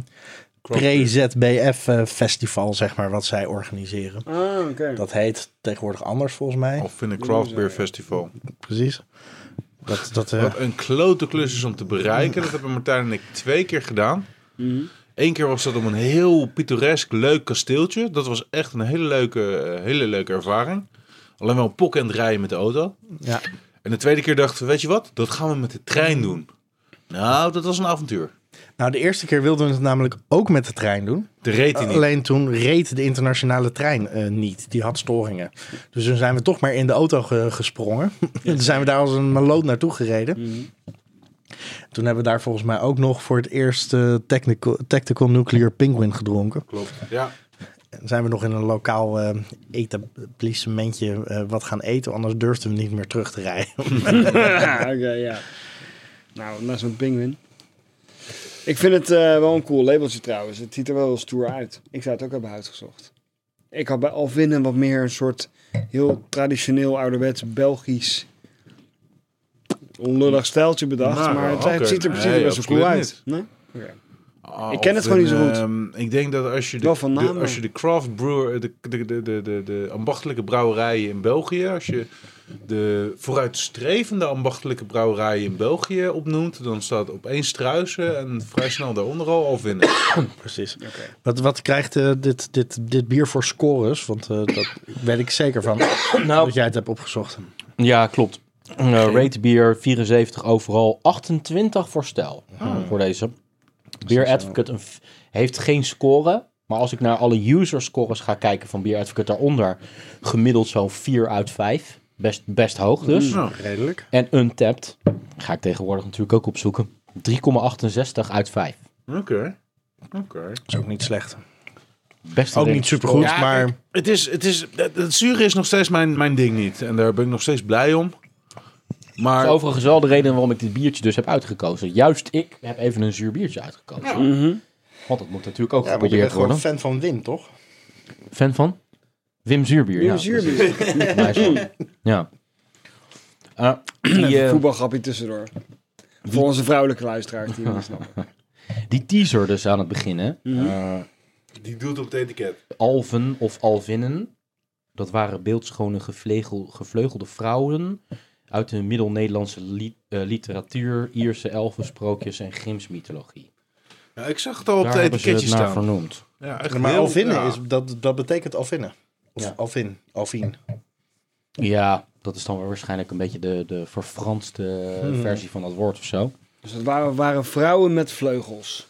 pre-ZBF eh, festival, zeg maar, wat zij organiseren.
Ah, oké.
Dat heet tegenwoordig anders volgens mij.
Alvin een Craft Beer Festival.
Precies. Dat, dat, eh,
Wat een klote klus is om te bereiken. Dat hebben Martijn en ik twee keer gedaan. Eén keer was dat om een heel pittoresk, leuk kasteeltje. Dat was echt een hele leuke, eh, hele leuke ervaring. Alleen wel pokken en rijden met de auto.
ja.
En de tweede keer dachten we, weet je wat? Dat gaan we met de trein doen. Nou, dat was een avontuur.
Nou, de eerste keer wilden we het namelijk ook met de trein doen.
De reed hij niet.
Alleen toen reed de internationale trein eh, niet. Die had storingen. Dus toen zijn we toch maar in de auto ge- gesprongen. [laughs] toen zijn we daar als een maloot naartoe gereden.
Mhm.
Toen hebben we daar volgens mij ook nog voor het eerst eh, technical, Tactical Nuclear Penguin gedronken.
Klopt. Ja.
zijn we nog in een lokaal eh, etablissementje eh, wat gaan eten. Anders durfden we niet meer terug te rijden.
Ja, [laughs] oké, ja. Nou, na zo'n pinguïn. Ik vind het eh, wel een cool labeltje trouwens. Het ziet er wel stoer uit. Ik zou het ook hebben uitgezocht. Ik had bij Alvinnen wat meer een soort heel traditioneel ouderwets Belgisch onlullig stijltje bedacht.
Nou,
maar het,
oké.
het ziet er precies
Nee,
best wel cool
absoluut
uit. Nee? Oké.
Ah,
Ik ken
of
het gewoon niet zo
een,
goed.
ehm, ik denk dat als je de,
Wel van naam,
de- als je de craft brewer, de, de, de, de, de, de ambachtelijke brouwerijen in België, als je de vooruitstrevende ambachtelijke brouwerijen in België opnoemt, dan staat opeens Struisen en vrij snel daaronder al Alvinnen.
Precies. Wat, wat krijgt eh, dit, dit, dit bier voor scores? Want eh, dat weet ik zeker van
Nou,
dat jij het hebt opgezocht.
ja, klopt. Eh rate bier 74 overal, 28 voor stijl
Ah.
voor deze. Beer Advocate een f- heeft geen score, maar als ik naar alle user scores ga kijken van Beer Advocate daaronder, gemiddeld zo'n 4 uit 5. Best, best hoog dus.
Mm.
Nou,
Redelijk.
En Untapped, ga ik tegenwoordig natuurlijk ook opzoeken, 3,68 uit 5.
Oké. Oké.
Dat is ook niet slecht.
Best
Ook niet supergoed,
Ja,
maar
kijk, Het, is, het, is, het, het zure is nog steeds mijn, mijn ding niet. En daar ben ik nog steeds blij om.
Dat
Maar
is overigens wel de reden waarom ik dit biertje dus heb uitgekozen. Juist ik heb even een zuur biertje uitgekozen.
Mhm.
Want dat moet natuurlijk ook
ja, maar je bent
geprobeerd
gewoon
worden.
fan van Wim, toch?
Fan van? Wim Zuurbier.
Wim
ja,
Zuurbier. Hmm.
precies. Nice
[laughs]
one. ja. Eh,
Even
die,
een
eh,
voetbalgrapje tussendoor. Voor onze vrouwelijke luisteraars die het niet snappen.
die teaser dus aan het begin, hè.
die doet op het etiket.
Alven of Alvinnen. Dat waren beeldschone gevlegel- gevleugelde vrouwen uit de middel-Nederlandse li- eh, literatuur, Ierse elfensprookjes en Grims mythologie.
Ja, ik zag het al op
Daar
het
hebben ze
etiketje
het naar
staan.
vernoemd.
Ja, echt
Maar
heel-
Alvinne,
ja.
is, dat, dat betekent Alvinne. Of
Ja.
Alvin, Alvin.
Ja, dat is dan wel waarschijnlijk een beetje de, de verfranste eh, versie van dat woord of zo.
Dus het waren, waren vrouwen met vleugels.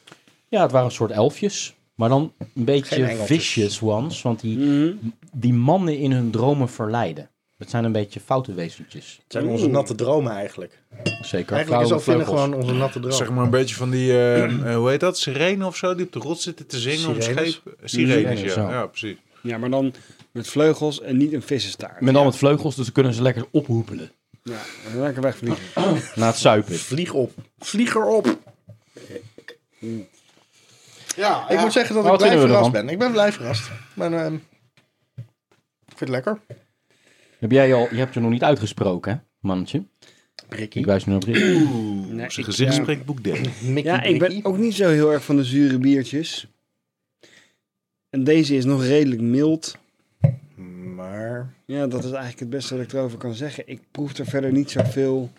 Ja, het waren een soort elfjes. Maar dan een beetje
Geen engeltjes.
vicious ones. Want die,
Mhm.
die mannen in hun dromen verleiden. Dat zijn een beetje foute wezentjes.
Het zijn onze natte dromen eigenlijk.
Zeker.
Eigenlijk is
vrouwen
Alvinne
vleugels.
gewoon onze natte droom.
Zeg maar een beetje van die, eh, eh, hoe heet dat? Sirene of zo, die op de rot zitten te zingen om
Sirenes?
scheep. Sirenes,
Sirenes,
ja.
ja.
ja, precies.
Ja, maar dan met vleugels en niet een vissenstaart.
Met al met vleugels, dus dan kunnen ze lekker ophoepelen.
Ja, lekker wegvliegen.
Na het zuipen.
Vlieg op. Vlieg erop.
Ja,
Ik moet zeggen dat
Maar
ik
wat
blij
vinden we
verrast
ervan?
ben. Ik ben blij verrast. Maar, ehm, ik vind het lekker.
Heb jij al, je hebt je nog niet uitgesproken, hè, mannetje? Ik wijs nu op Rick.
Nee,
zijn
ik-
gezicht
ja.
spreekt boek D.
Mickey
Ja, ik ben
Mickey.
ook niet zo heel erg van de zure biertjes. En deze is nog redelijk mild.
Maar...
Ja, dat is eigenlijk het beste wat ik erover kan zeggen. Ik proef er verder niet zoveel.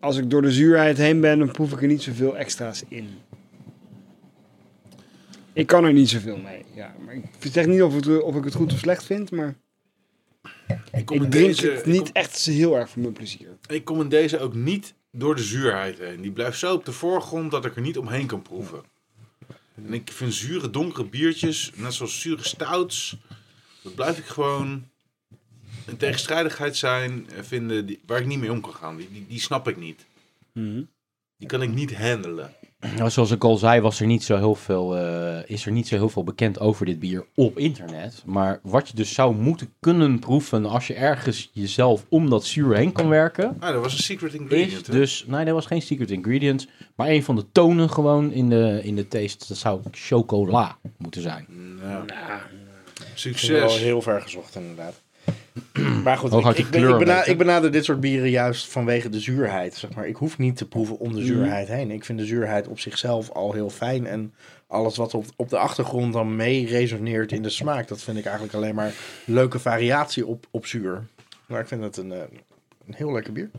Als ik door de zuurheid heen ben, dan proef ik er niet zoveel extra's in. Ik kan er niet zoveel mee. Ja, maar ik zeg niet of, het, of ik het goed of slecht vind, maar
Ik kom,
Ik
in
drink
deze,
het
ik
niet
kom-
echt heel erg voor mijn plezier.
ik kom in deze ook niet door de zuurheid heen. Die blijft zo op de voorgrond dat ik er niet omheen kan proeven. En ik vind zure, donkere biertjes, net zoals zure stouts, dat blijf ik gewoon een tegenstrijdigheid zijn eh, vinden die, waar ik niet mee om kan gaan. Die, die, die snap ik niet.
Mhm.
Die kan ik niet handelen.
Nou, zoals ik al zei, was er niet zo heel veel, eh, is er niet zo heel veel bekend over dit bier op internet. Maar wat je dus zou moeten kunnen proeven als je ergens jezelf om dat zuur heen kan werken,
Ah, dat was een secret
is
ingredient. hè?
dus, nee, dat was geen secret ingredient, maar een van de tonen gewoon in de, in de taste, dat zou chocola moeten zijn.
Nou,
Dat is wel
succes.
heel ver gezocht, inderdaad. [clears throat] Maar goed,
Ook uit
ik,
de
ik, ben-
kleur
ik, bena-
een beetje.
ik benader dit soort bieren juist vanwege de zuurheid. Zeg maar. Ik hoef niet te proeven om de zuurheid heen. Ik vind de zuurheid op zichzelf al heel fijn. En alles wat op, op de achtergrond dan mee resoneert in de smaak... dat vind ik eigenlijk alleen maar leuke variatie op, op zuur. Maar ik vind het een, eh, een heel lekker bier.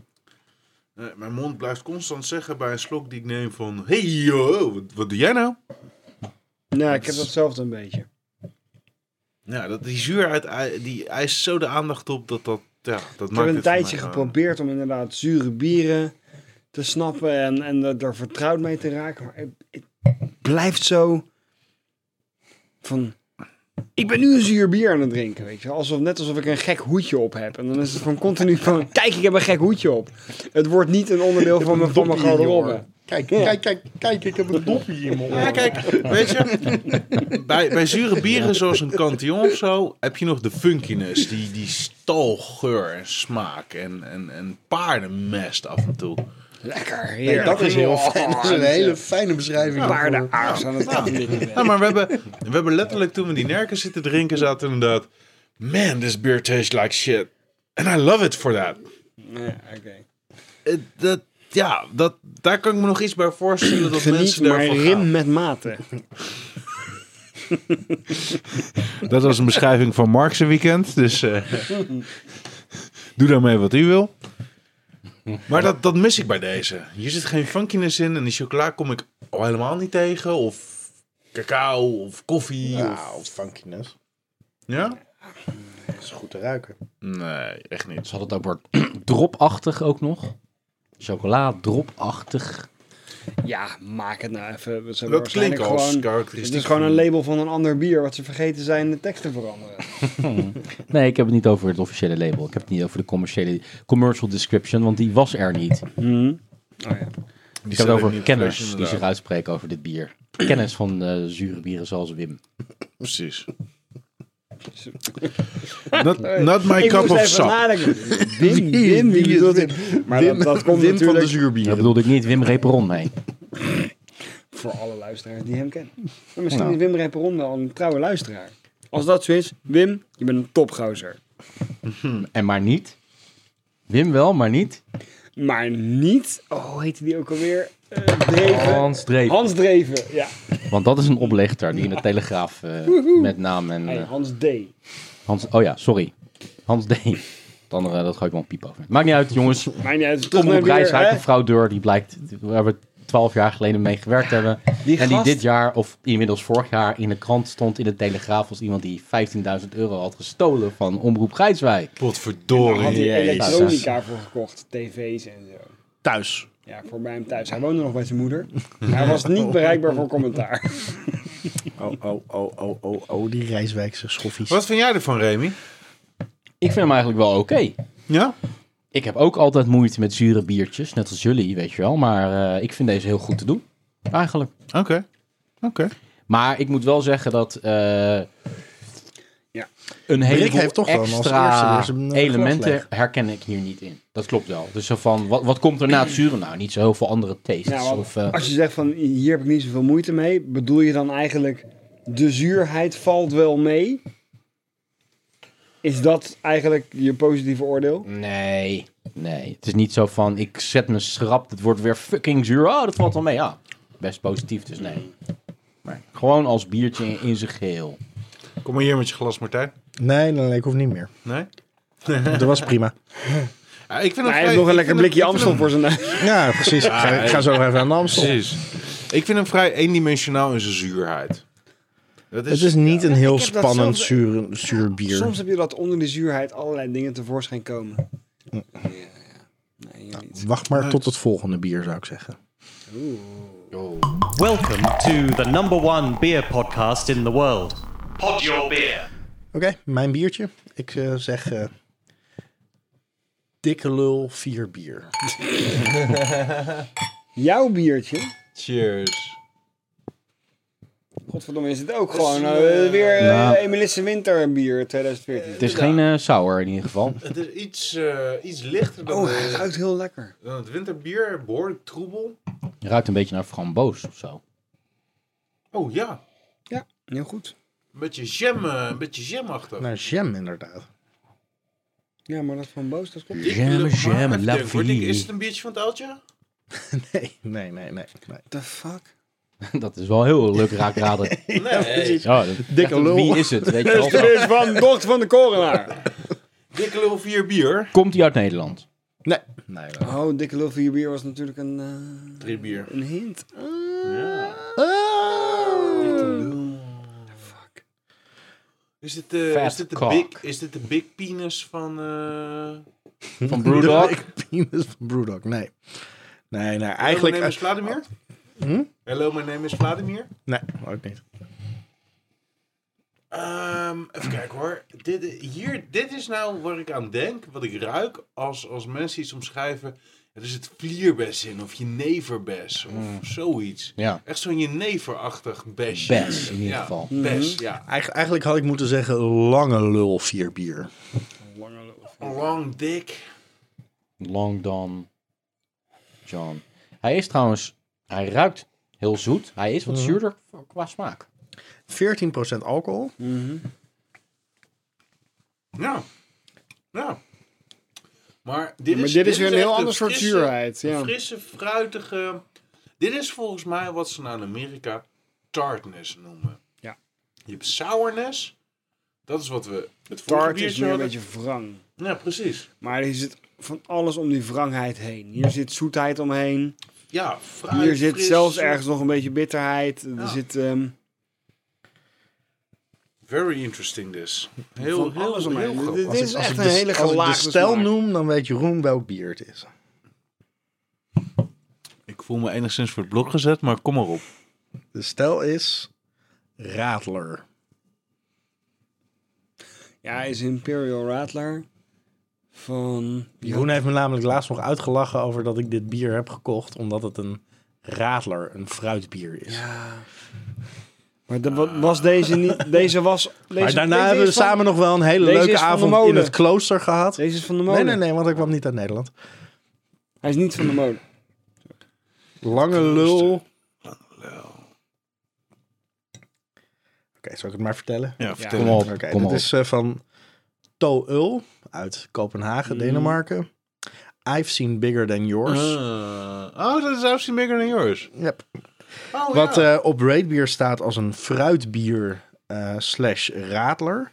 Nee, Eh, mijn mond blijft constant zeggen bij een slok die ik neem van... Hey yo, wat, wat doe jij nou?
Nou, ik heb datzelfde een beetje.
Ja, dat, die zuurheid ei- die eist zo de aandacht op dat dat... Ja,
Ik
dat maakt
heb een
het voor
tijdje
mij, eh,
geprobeerd om inderdaad zure bieren te snappen en, en er- er vertrouwd mee te raken. Maar het, het blijft zo van... Ik ben nu een zuur bier aan het drinken, weet je wel. Alsof, net alsof ik een gek hoedje op heb. En dan is het van continu van... Kijk, ik heb een gek hoedje op. Het wordt niet een onderdeel van mijn, van mijn
Doppie,
garderobe.
jongen. Kijk, kijk, kijk, kijk, ik heb een dopje in mijn
Ja,
oor.
kijk, weet je, bij, bij zure bieren zoals een Cantillon of zo, heb je nog de funkiness, die, die stalgeur en smaak en, en, en paardenmest af en toe.
Lekker,
Nee,
heerlijk.
dat is
[laughs]
heel fijn. Dat is een hele fijne beschrijving.
Paardenaars aan het
Ja, maar we hebben, we hebben letterlijk toen we die nerken zitten drinken, zaten inderdaad... Man, this beer tastes like shit. And I love it for that.
Ja, oké.
Eh, dat, ja, dat, daar kan ik me nog iets bij voorstellen dat
Geniet
mensen
maar
daarvan
rim met mate.
gaan. Dat was een beschrijving van Mark's weekend, dus eh, [laughs] doe daarmee wat u wil. [laughs] Maar dat, dat mis ik bij deze. Hier zit geen funkiness in en die chocola kom ik al helemaal niet tegen. Of cacao, of koffie.
Ja,
of,
of funkiness.
ja?
Dat is goed te ruiken.
Nee, echt niet.
Ze hadden het ook woord [clears throat] dropachtig ook nog. Chocola, dropachtig.
Ja, maak het nou even. We zijn
Dat klinkt
waarschijnlijk
als
gewoon, Dus Het
karakteristiek.
is gewoon een
van-
label van een ander bier wat ze vergeten zijn de tekst te veranderen.
Nee, ik heb het niet over het officiële label. Ik heb het niet over de commerciële commercial description, want die was er niet.
Oh ja.
die
Ik heb het
staat ook
over
niet fresh,
kenners die
inderdaad.
zich uitspreken over dit bier. Kennis van eh, zure bieren zoals Wim.
[laughs]
Precies. Not, not my
Ik
cup
moest
of
even
sap.
nadenken. Wim, Wim, wie bedoelt dit? Maar dat, dat komt
Wim van de
natuurlijk
Daar
zuurbieren.
bedoelde ik niet Wim Reperon mee.
voor alle luisteraars die hem kennen. Maar misschien is Wim Reperon wel een trouwe luisteraar. Als dat zo is, Wim, je bent een topgozer.
En maar niet. Wim wel, maar niet.
Maar niet, oh, hoe heette die ook alweer? Eh, Dreven.
Hans Dreef.
Hans Dreven, ja.
Want dat is een oplichter die in de Telegraaf eh, met naam en...
Hey,
eh,
Hans D.
Hans... Oh ja, sorry. Hans D. Het andere, dat ga ik wel een piep over. Maakt niet uit, jongens.
Maakt niet uit.
Omroep
Terug naar het bier,
Rijswijk,
hè?
een vrouw deur, die blijkt, waar we twaalf jaar geleden mee gewerkt hebben.
Die
en die
gast-
dit jaar, of inmiddels vorig jaar, in de krant stond in de Telegraaf als iemand die 15.000 euro had gestolen van Omroep Grijswijk.
Daar had
Potverdorie.
hij
jezus.
elektronica voor gekocht, tv's en zo.
Thuis.
Ja, voor mij hem thuis. Hij woonde nog bij zijn [laughs] moeder. Hij was niet bereikbaar voor commentaar.
Oh, oh, oh, oh, oh, oh, die Rijswijkse schoffies.
Wat vind jij ervan, Remy?
Ik vind hem eigenlijk wel oké.
Ja?
Ik heb ook altijd moeite met zure biertjes, net als jullie, weet je wel. Maar eh, ik vind deze heel goed te doen, eigenlijk.
Oké. Oké.
Maar ik moet wel zeggen dat eh,
Ja.
een heleboel
heeft toch dan als
extra
eerste weer zijn, eh, glas
elementen
leeg.
herken ik hier niet in. Dat klopt wel. Dus zo van, wat, wat komt er na het zure? Nou, niet zo heel veel andere tastes.
Nou, want
of, eh,
als je zegt van hier heb ik niet zoveel moeite mee, bedoel je dan eigenlijk de zuurheid valt wel mee? Is dat eigenlijk je positieve oordeel?
Nee, nee. Het is niet zo van, ik zet me schrap, het wordt weer fucking zuur. Oh, dat valt wel mee. Ja, best positief, dus nee. Maar gewoon als biertje in, in zijn geheel.
Kom maar hier met je glas, Martijn.
Nee, nee, nee, ik hoef niet meer.
Nee?
Dat was
[laughs]
prima.
Ja, ik
Maar
vind hem
hij
vrij-
heeft nog een lekker
ik vind hem-
blikje
ik vind hem-
Amstel voor zijn neus.
Ja, precies. Ik ga, ik ga zo even aan de Amstel.
Precies. Ik vind hem vrij eendimensionaal in zijn zuurheid. Dat
Het is niet een
Ik
heel
heb dat
spannend
zelfs-
zuur, zuur bier.
Soms heb je dat onder de zuurheid allerlei dingen tevoorschijn komen. Ja, ja. Nee, hier niet.
Wacht maar tot het volgende bier, zou ik zeggen.
Welcome to the number one beer podcast in the world. Pod your beer.
Oké, mijn biertje. Ik eh, zeg eh, dikke lul vier bier.
Jouw biertje?
Cheers.
Godverdomme, is het ook gewoon eh, weer eh Emelisse Winter bier 2014.
Het is geen eh, sour in ieder geval.
Het is iets, eh, iets lichter dan,
Oh,
de-
hij ruikt heel lekker.
dan het winterbier. Behoorlijk troebel.
Je ruikt een beetje naar framboos of zo.
Oh ja,
Ja, heel goed.
een beetje jam, eh, een beetje jamachtig.
Naar jam inderdaad. [laughs]
Ja, maar dat van Boos, dat komt...
Jam,
Lukt, maar
jam,
even
la
denken, wordt dit- Is
vie.
het een biertje van het oudje?
Nee, nee, nee, nee. nee.
What the fuck?
[laughs] Dat is wel heel leuk raak raden.
Nee,
Ja,
[laughs]
dat-
Dikke
echt,
lul.
Wie is het? Weet je wel?
Dit is van dochter van de korenaar.
dikke lul vier bier.
Komt hij uit Nederland?
Nee, nee. nee.
Oh, dikke lul van je bier was natuurlijk een, eh,
Drie bier.
een hint.
Oh. [laughs]
Is dit, eh,
Fat
is dit, de,
cock.
big, is dit de big penis van... eh [laughs]
Van Brewdog?
De dikke penis van Brewdog, nee. Nee, nee,
Hello,
eigenlijk...
mijn name
eh,
is Vladimir?
Hm?
Hello, mijn name is Vladimir.
Nee, ook niet.
Ehm, even kijken hoor. Dit, hier, dit is nou waar ik aan denk, wat ik ruik als, als mensen iets omschrijven. Er zit vlierbes in of jeneverbes of zoiets.
Mm. Ja.
Echt zo'n jeneverachtig besje.
Bes in ieder
Ja,
geval. Mm-hmm.
Bes, ja.
Eigen- eigenlijk had ik moeten zeggen lange lul vier bier.
Long dick.
Long Don John. Hij is trouwens, hij ruikt heel zoet. Hij is wat
Mhm.
zuurder qua smaak.
14% alcohol.
Ja. Ja. Maar dit is,
Maar dit is weer een
echt
heel ander soort
frisse-
zuurheid, ja.
Frisse, fruitige. Dit is volgens mij wat ze nou in Amerika tartness noemen.
Ja.
Je hebt sourness. Dat is wat we het vorige
Tart is
biertje
meer een
hadden.
beetje wrang.
Ja, precies.
Maar hier zit van alles om die wrangheid heen. Hier zit zoetheid omheen.
Ja, fruit,
Hier zit
Ah, fris,
zelfs
zoet.
ergens nog een beetje bitterheid. Er
Ja.
zit ehm,
Very interesting this. Heel,
van
heel,
alles
heel,
omheen. Dit-
grappig.
dit is dus- echt
ik
een
de-
hele
Als ik de
gelaagde
stijl
smaak.
noem, dan weet Jeroen welk bier het is.
Ik voel me enigszins voor het blok gezet, maar kom maar op.
De stijl is Radler.
Ja, is Imperial Radler van...
Jeroen heeft me namelijk laatst nog uitgelachen over dat ik dit bier heb gekocht, omdat het een Radler, een fruitbier is.
Maar dat wa- was deze [laughs] niet... Deze was... Deze,
maar daarna
deze
hebben we
is van-
samen nog wel een hele
deze
leuke
is van de
avond in
molen.
het klooster gehad.
Deze is van de
Nee,
molen.
nee, nee, want ik kwam niet uit Nederland.
Hij is niet van de molen.
Lange lul. Oké, zal ik het maar vertellen?
Ja, vertel.
Kom op,
Oké,
kom
dit
op.
is eh, van To Ul uit Kopenhagen, Denemarken. I've seen bigger than yours.
Eh,
Ah. oh, dat is absoluut bigger than yours.
Yep.
Oh,
Wat
ja.
eh, op Raidbeer staat als een fruitbier eh, slash radler.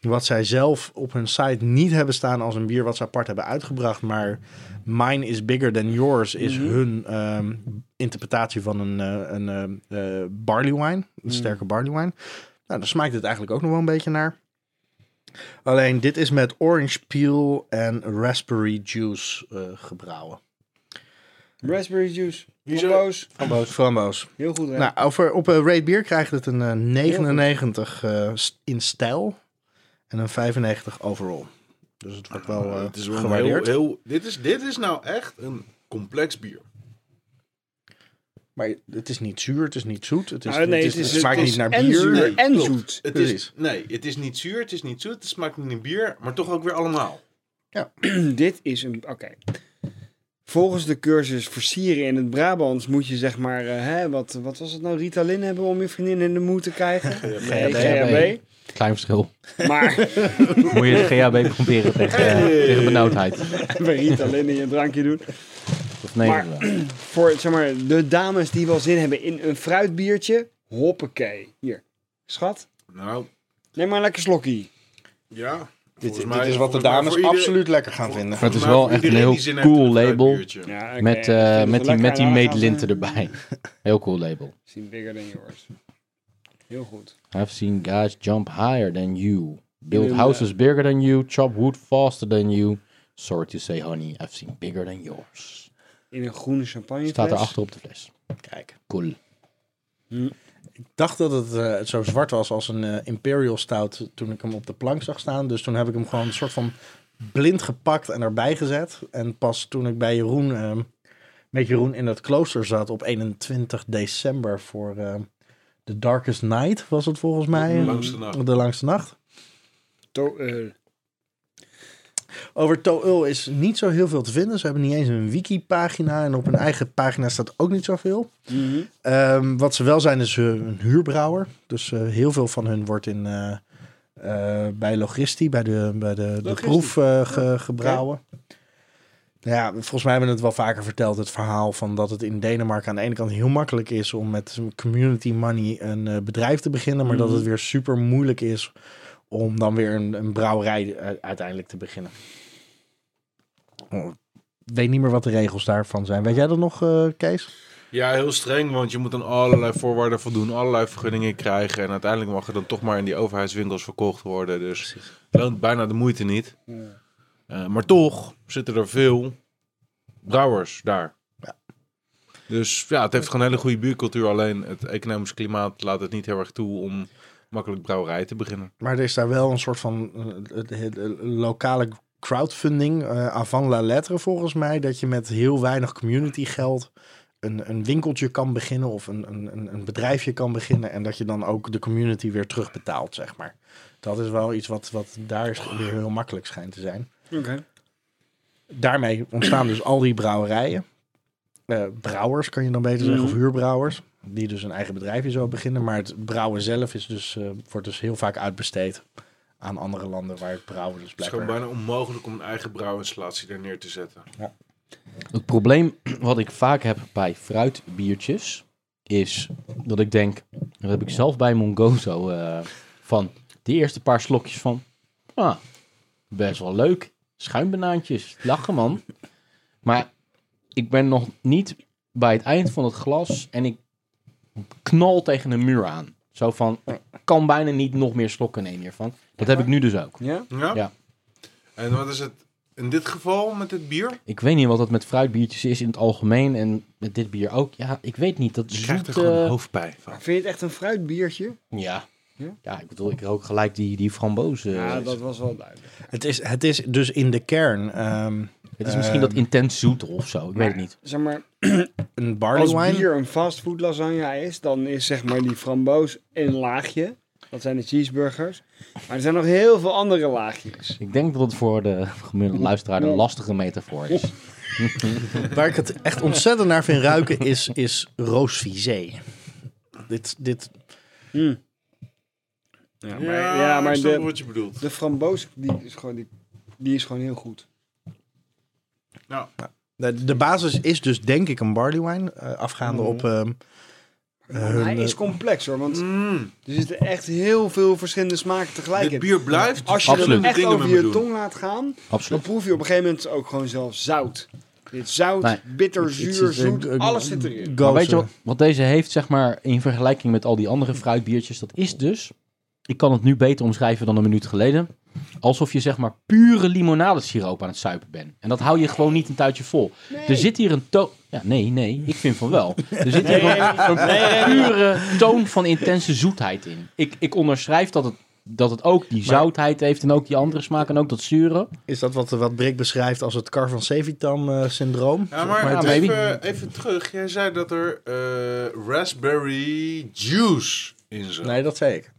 Wat zij zelf op hun site niet hebben staan als een bier wat ze apart hebben uitgebracht. Maar Mine is bigger than yours is hun ehm, interpretatie van een, eh, een eh, eh, barley wine. Een sterke barley wine. Nou, daar smaakt het eigenlijk ook nog wel een beetje naar. Alleen dit is met orange peel en raspberry juice eh, gebrouwen.
Raspberry juice.
Wieso?
Boos.
Framboos. Framboos.
Heel goed, hè?
Nou, over, op eh, Raid Beer krijgt het een eh, 99 eh, st- in stijl en een 95 overall. Dus het wordt wel, eh,
het is wel een heel,
gewaardeerd.
heel...
dit, is, dit is nou echt een complex bier.
Maar het is niet zuur, het is niet zoet, dus het, is,
Nou, nee,
het, is,
het is-
het smaakt
het
niet
is
naar
en
bier.
zuur.
Nee,
en
klopt.
zoet. Dus
Het
Precies.
is, nee, het is niet zuur, het is niet zoet, het smaakt niet naar bier, maar toch ook weer allemaal.
[clears throat] Dit is een. Oké. Volgens de cursus versieren in het Brabants moet je zeg maar, eh, hè, wat, wat was het nou, Ritalin hebben om je vriendin in de moed te
[laughs]
krijgen? Nee,
GHB.
GHB.
Klein verschil.
Maar [laughs]
Moet je de GHB proberen tegen, eh, tegen benauwdheid.
bij Ritalin in je drankje doen.
Of nee,
Maar-
dat wel.
Voor zeg maar, de dames die wel zin hebben in een fruitbiertje, hoppakee. Hier, schat.
Nou,
Neem maar een lekker slokkie.
ja.
Dit,
volgens
dit
mij-
is wat de
volgens mij
dames
voor ieder-
absoluut lekker gaan vinden.
het is
Maar
wel
voor
echt een
iedereen
heel
die zin heeft in
cool
een
label.
fruitbiertje.
Ja, oké,
Met,
als je
eh,
het eh.
met die,
lekker
met die
aan gaat,
meetlinten
eh,
erbij. Heel cool label.
Zien bigger than yours. Heel goed.
I've seen guys jump higher than you. Build
Heel,
houses bigger than you. Chop wood faster than you. Sorry to say, honey, I've seen bigger than yours.
In een groene champagne.
Staat er achter op de fles. Kijk. Cool.
Ik dacht dat het eh, zo zwart was als een eh, Imperial Stout toen ik hem op de plank zag staan. Dus toen heb ik hem gewoon een soort van blind gepakt en erbij gezet. En pas toen ik bij Jeroen, ehm, met Jeroen in dat klooster zat op 21 december voor ehm, The Darkest Night was het volgens mij.
De langste nacht.
De langste nacht. Over Toul is niet zo heel veel te vinden. Ze hebben niet eens een wiki-pagina en op hun eigen pagina staat ook niet zoveel. Ehm, wat ze wel zijn is eh, een huurbrouwer. Dus eh, heel veel van hun wordt in, eh, eh, bij logistie, bij de, bij de, de
Logisti.
proef eh, ge- gebrouwen. Nou ja, volgens mij hebben we het wel vaker verteld, het verhaal van dat het in Denemarken aan de ene kant heel makkelijk is om met community money een eh, bedrijf te beginnen, maar dat het weer super moeilijk is om dan weer een, een brouwerij eh, uiteindelijk te beginnen. Oh, ik weet niet meer wat de regels daarvan zijn. Weet jij dat nog, eh, Kees?
Ja, heel streng, want je moet aan allerlei voorwaarden voldoen, allerlei vergunningen krijgen. En uiteindelijk mag het dan toch maar in die overheidswinkels verkocht worden. Dus het loont bijna de moeite niet. Eh, maar toch zitten er veel brouwers daar. Dus ja, het heeft gewoon een hele goede buurcultuur. Alleen het economisch klimaat laat het niet heel erg toe om makkelijk brouwerij te beginnen.
Maar er is daar wel een soort van eh, het- het- eh, lokale crowdfunding, eh avant la lettre volgens mij, dat je met heel weinig community geld een, een winkeltje kan beginnen of een, een, een- een bedrijfje kan beginnen en dat je dan ook de community weer terugbetaalt, zeg maar. Dat is wel iets wat, wat daar is weer heel makkelijk schijnt te zijn.
Oké.
daarmee ontstaan dus al die brouwerijen. Eh, brouwers kan je dan beter zeggen, of
Mhm.
huurbrouwers. Die dus een eigen bedrijfje zo beginnen. Maar het brouwen zelf is dus, eh, wordt dus heel vaak uitbesteed aan andere landen waar het brouwen dus
Het is gewoon
blijkbaar...
bijna onmogelijk om een eigen brouwinstallatie daar neer te zetten.
Het probleem wat ik vaak heb bij fruitbiertjes is dat ik denk, dat heb ik zelf bij Mongozo eh, van de eerste paar slokjes van, ah, best wel leuk, schuimbanaantjes, lachen man. Maar ik ben nog niet bij het eind van het glas en ik knal tegen een muur aan. Zo van, ik kan bijna niet nog meer slokken nemen hiervan. Dat heb ik nu dus ook.
Ja?
Ja?
Ja.
En wat is het in dit geval met dit bier?
Ik weet niet wat dat met fruitbiertjes is in het algemeen en met dit bier ook. Ja, ik weet niet. Dat
Je krijgt er
zoete-
gewoon hoofdpijn van.
Vind je het echt een fruitbiertje?
Ja.
Ja?
Ja, ik bedoel, ik rook gelijk die, die frambozen.
Ja, dat was wel duidelijk.
Het is, het is dus in de kern ehm,
het is misschien dat intens zoete of zo. Ik weet het niet.
Zeg maar,
een
als
barley wine.
bier een fastfood lasagne is, dan is zeg maar die framboos een laagje. Dat zijn de cheeseburgers. Maar er zijn nog heel veel andere laagjes.
Ik denk dat het voor de gemiddelde luisteraar een lastige metafoor is.
Waar ik het echt ontzettend naar vind ruiken is, is roosvisé. Dit, dit,
Ja, maar, ja, maar
ik snap
de,
wat je bedoelt.
de framboos die is, gewoon, die, die is gewoon heel goed.
Nou,
de de basis is dus denk ik een barley wine, eh, afgaande
Mhm.
op... ehm,
Maar hij
eh,
is complex hoor, want er zitten echt heel veel verschillende smaken tegelijk
dit
in.
bier blijft
Als je
Absoluut.
er echt
dingen
over
mee
je
doen.
tong laat gaan, dan
Absoluut.
proef je op een gegeven moment ook gewoon zelf zout. Dit zout,
Nee.
bitter,
Het
zuur,
is een-
zoet,
een-
alles zit erin.
Maar
gozer.
weet je wat, wat deze heeft, zeg maar, in vergelijking met al die andere fruitbiertjes? Dat is dus, ik kan het nu beter omschrijven dan een minuut geleden, alsof je zeg maar pure limonadesiroop aan het suipen bent. En dat hou je gewoon niet een tuitje vol. Er zit hier een toon... Ja, nee, nee, ik vind van wel. Er zit hier een, een pure toon van intense zoetheid in. Ik, ik onderschrijf dat het, dat het ook die zoutheid heeft en ook die andere smaak en ook dat zure.
Is dat wat, wat Brick beschrijft als het Carvan Sevitam eh, syndroom?
Ja, maar,
Maar maybe.
even, even terug. Jij zei dat er eh, raspberry juice in zat. Nee.
Nee, dat zei ik.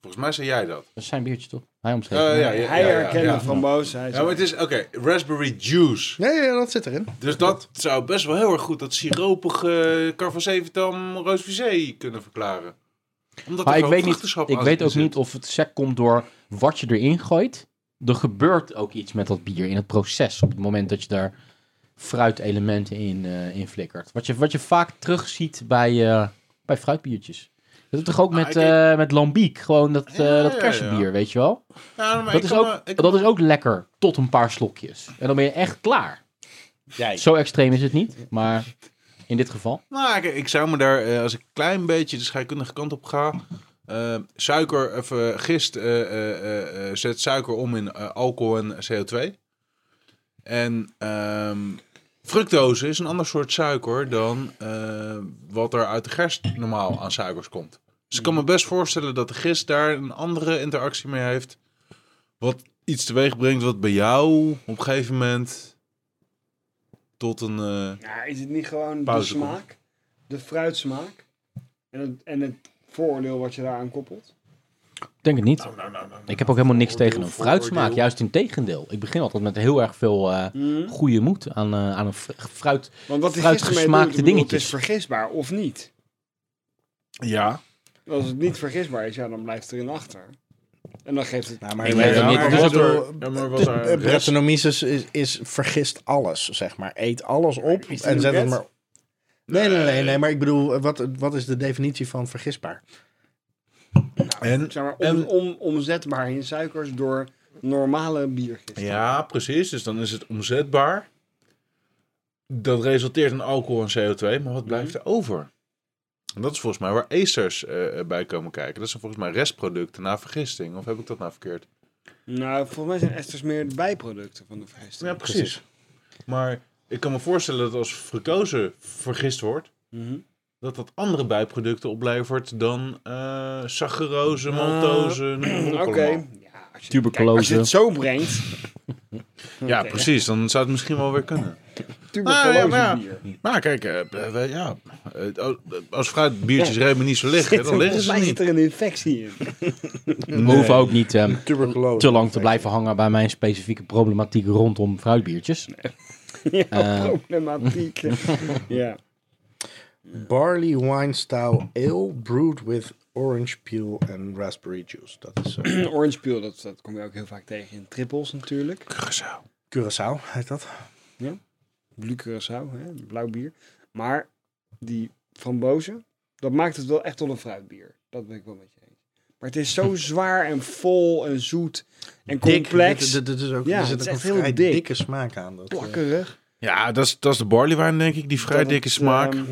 Volgens mij zei jij dat.
Dat is zijn biertje toch? Hij
Eh,
omschreef
ja,
het.
ja, ja,
Hij
ja,
herkende
ja.
framboos. Hij
Ja, maar
zei,
het is, oké, raspberry juice.
Nee, ja, dat zit erin.
Dus dat zou best wel heel erg goed dat siropige Carvacevetam roosvisé kunnen verklaren. Omdat
Maar
er
ik
gewoon
weet, niet,
vruchtenschap
ik
aan
weet
zit.
ook niet of het sec komt door wat je erin gooit. Er gebeurt ook iets met dat bier in het proces. Op het moment dat je daar fruitelementen in, eh, in flikkert. Wat je, wat je vaak terugziet bij, eh, bij fruitbiertjes. Dat is toch ook met,
Nou, ik-
eh, met lambiek. Gewoon dat, eh,
Ja,
dat
ja,
kersenbier,
ja.
weet je wel.
Ja, maar
Dat
ik
is,
kan
ook,
me- ik-
dat is ook lekker tot een paar slokjes. En dan ben je echt klaar.
Jij.
Zo extreem is het niet, maar in dit geval?
Nou, ik, ik zou me daar, eh, als ik een klein beetje de scheikundige kant op ga. eh, suiker, of eh, gist, eh, eh, eh, eh, zet suiker om in eh, alcohol en CO2. En ehm, fructose is een ander soort suiker dan eh, wat er uit de gerst normaal aan suikers komt. Dus ik kan me best voorstellen dat de gist daar een andere interactie mee heeft. Wat iets teweeg brengt wat bij jou op een gegeven moment tot een... eh,
Ja, is het niet gewoon de
Pauze komt.
smaak? De fruitsmaak? En het, en het vooroordeel wat je daaraan koppelt?
Ik denk het niet.
Nou,
ik heb ook helemaal niks tegen een fruitsmaak. Juist in tegendeel. Ik begin altijd met heel erg veel eh,
Hmm?
goede moed aan, eh, aan een fr- fruit.
Want wat is
Fruit gesmaakte
Het
dingetjes.
is vergisbaar of niet.
ja,
Als het niet vergisbaar is, ja, dan blijft het erin achter. En dan geeft het...
Nou, maar
Ik weet het niet.
maar
Dus
wat
het-
er-
Ja, maar wat er-
de- eh, Brettanomyces is, is vergist alles, zeg maar. Eet alles op
Is die
en
een
zet het
bret?
maar... Nee, nee, nee, nee, maar ik bedoel, eh, wat, wat is de definitie van vergisbaar?
En,
Zeg maar, on,
en-
on- omzetbaar in suikers door normale biergisten.
ja, precies. Dus dan is het omzetbaar. Dat resulteert in alcohol en CO2, maar wat blijft er over? En dat is volgens mij waar acers eh, bij komen kijken. Dat zijn volgens mij restproducten na vergisting. Of heb ik dat nou verkeerd?
Nou, volgens mij zijn esters meer de bijproducten van de vergisting.
Ja, precies. Maar ik kan me voorstellen dat als fructose vergist wordt,
Mhm.
dat dat andere bijproducten oplevert dan eh saccharose, maltose, noem maar op
Mm, Oké.
allemaal.
Ja, als je- kijk,
Tuberculose.
als je het zo brengt...
Ja, precies. Dan zou het misschien wel weer kunnen.
Tuberculose
Ah, ja, maar-
bier.
Maar kijk, eh, eh, wij- ja, eh, al- als fruitbiertjes helemaal niet zo liggen,
Zit er-
dan liggen
volgens
ze
mij
niet.
zit er een infectie in. [laughs]
We hoeven ook niet ehm,
Tuberculose.
te lang te blijven hangen bij mijn specifieke problematiek rondom fruitbiertjes.
Ja,
Eh.
problematiek. ja. [clears throat]
Barley wine style ale brewed with orange peel and raspberry juice. Dat is eh,
Orange peel, dat, dat kom je ook heel vaak tegen in trippels natuurlijk.
Curaçao, heet dat?
Blue Curaçao, hè, blauw bier. Maar die frambozen, dat maakt het wel echt tot een fruitbier. Dat ben ik wel met je eens. Maar het is zo zwaar en vol en zoet en complex.
Dit, dit- dit is ook,
Ja,
er zit
het
ook
is
een
echt heel
vrij
dik.
dikke smaak aan. Dat, eh,
plakkerig.
Ja, dat is, dat is de barleywijn, denk ik. Die vrij
Dat
dikke
het,
smaak.
ehm,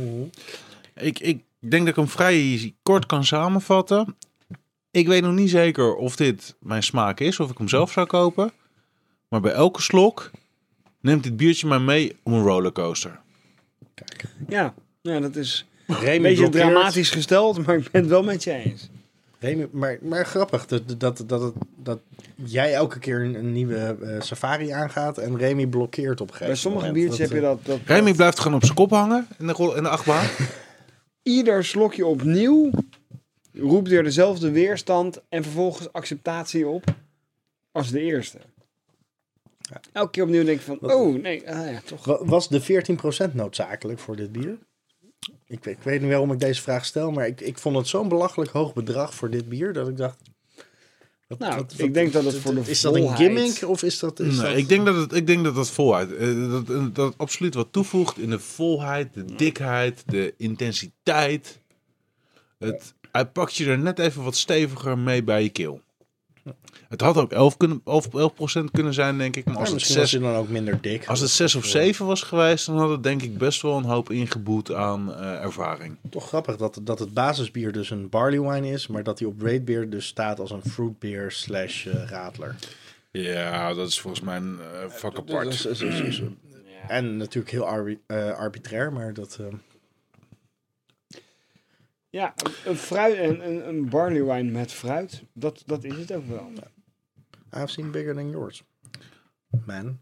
Ik, ik denk dat ik hem vrij kort kan samenvatten. Ik weet nog niet zeker of dit mijn smaak is, of ik hem zelf zou kopen. Maar bij elke slok neemt dit biertje mij mee op een rollercoaster.
ja. ja, dat is
Remy
een beetje
blokkeert.
dramatisch gesteld, maar ik ben het wel met je eens.
Remy- maar, maar grappig dat, dat, dat, dat, dat jij elke keer een, een nieuwe eh, safari aangaat en Remy blokkeert op een gegeven
Bij sommige
moment.
biertjes heb je
eh,
dat, dat, dat
Remy blijft gewoon op zijn kop hangen in de, rol- in de achtbaan.
ieder slokje opnieuw roept weer dezelfde weerstand en vervolgens acceptatie op als de eerste. Elke keer opnieuw denk ik van, oh nee, ah ja, toch.
Wa- Was de 14% noodzakelijk voor dit bier? Ik, weet- ik weet niet waarom ik deze vraag stel, maar ik, ik vond het zo'n belachelijk hoog bedrag voor dit bier dat ik dacht. wat-
Nou,
wat-
ik
wat-
denk dat het voor de
Is dat een
volheid-
gimmick of is dat. Is
Nee,
dat-
ik, denk dat het, ik denk dat dat voluit, eh, dat, dat, dat het absoluut wat toevoegt in de volheid, de dikheid, de intensiteit. Het, hij pakt je er net even wat steviger mee bij je keel. Het had ook 11, kunnen, 11, 11% kunnen zijn, denk ik. Maar
Ja,
als, het
misschien was
6,
hij dan ook minder dik.
als het 6 of 7 was geweest, dan had het denk ik best wel een hoop ingeboet aan eh, ervaring.
Toch grappig dat, dat het basisbier dus een barley wine is, maar dat hij op rate beer dus staat als een fruit beer slash eh, radler.
Ja, dat is volgens mij een eh, vak
Dus- dus- dus- dus- En natuurlijk heel arbi- eh, arbitrair, maar dat. eh,
Ja, een, fruit, een, een, een barley wine met fruit, dat, dat is het ook wel.
I've seen bigger than yours. Man.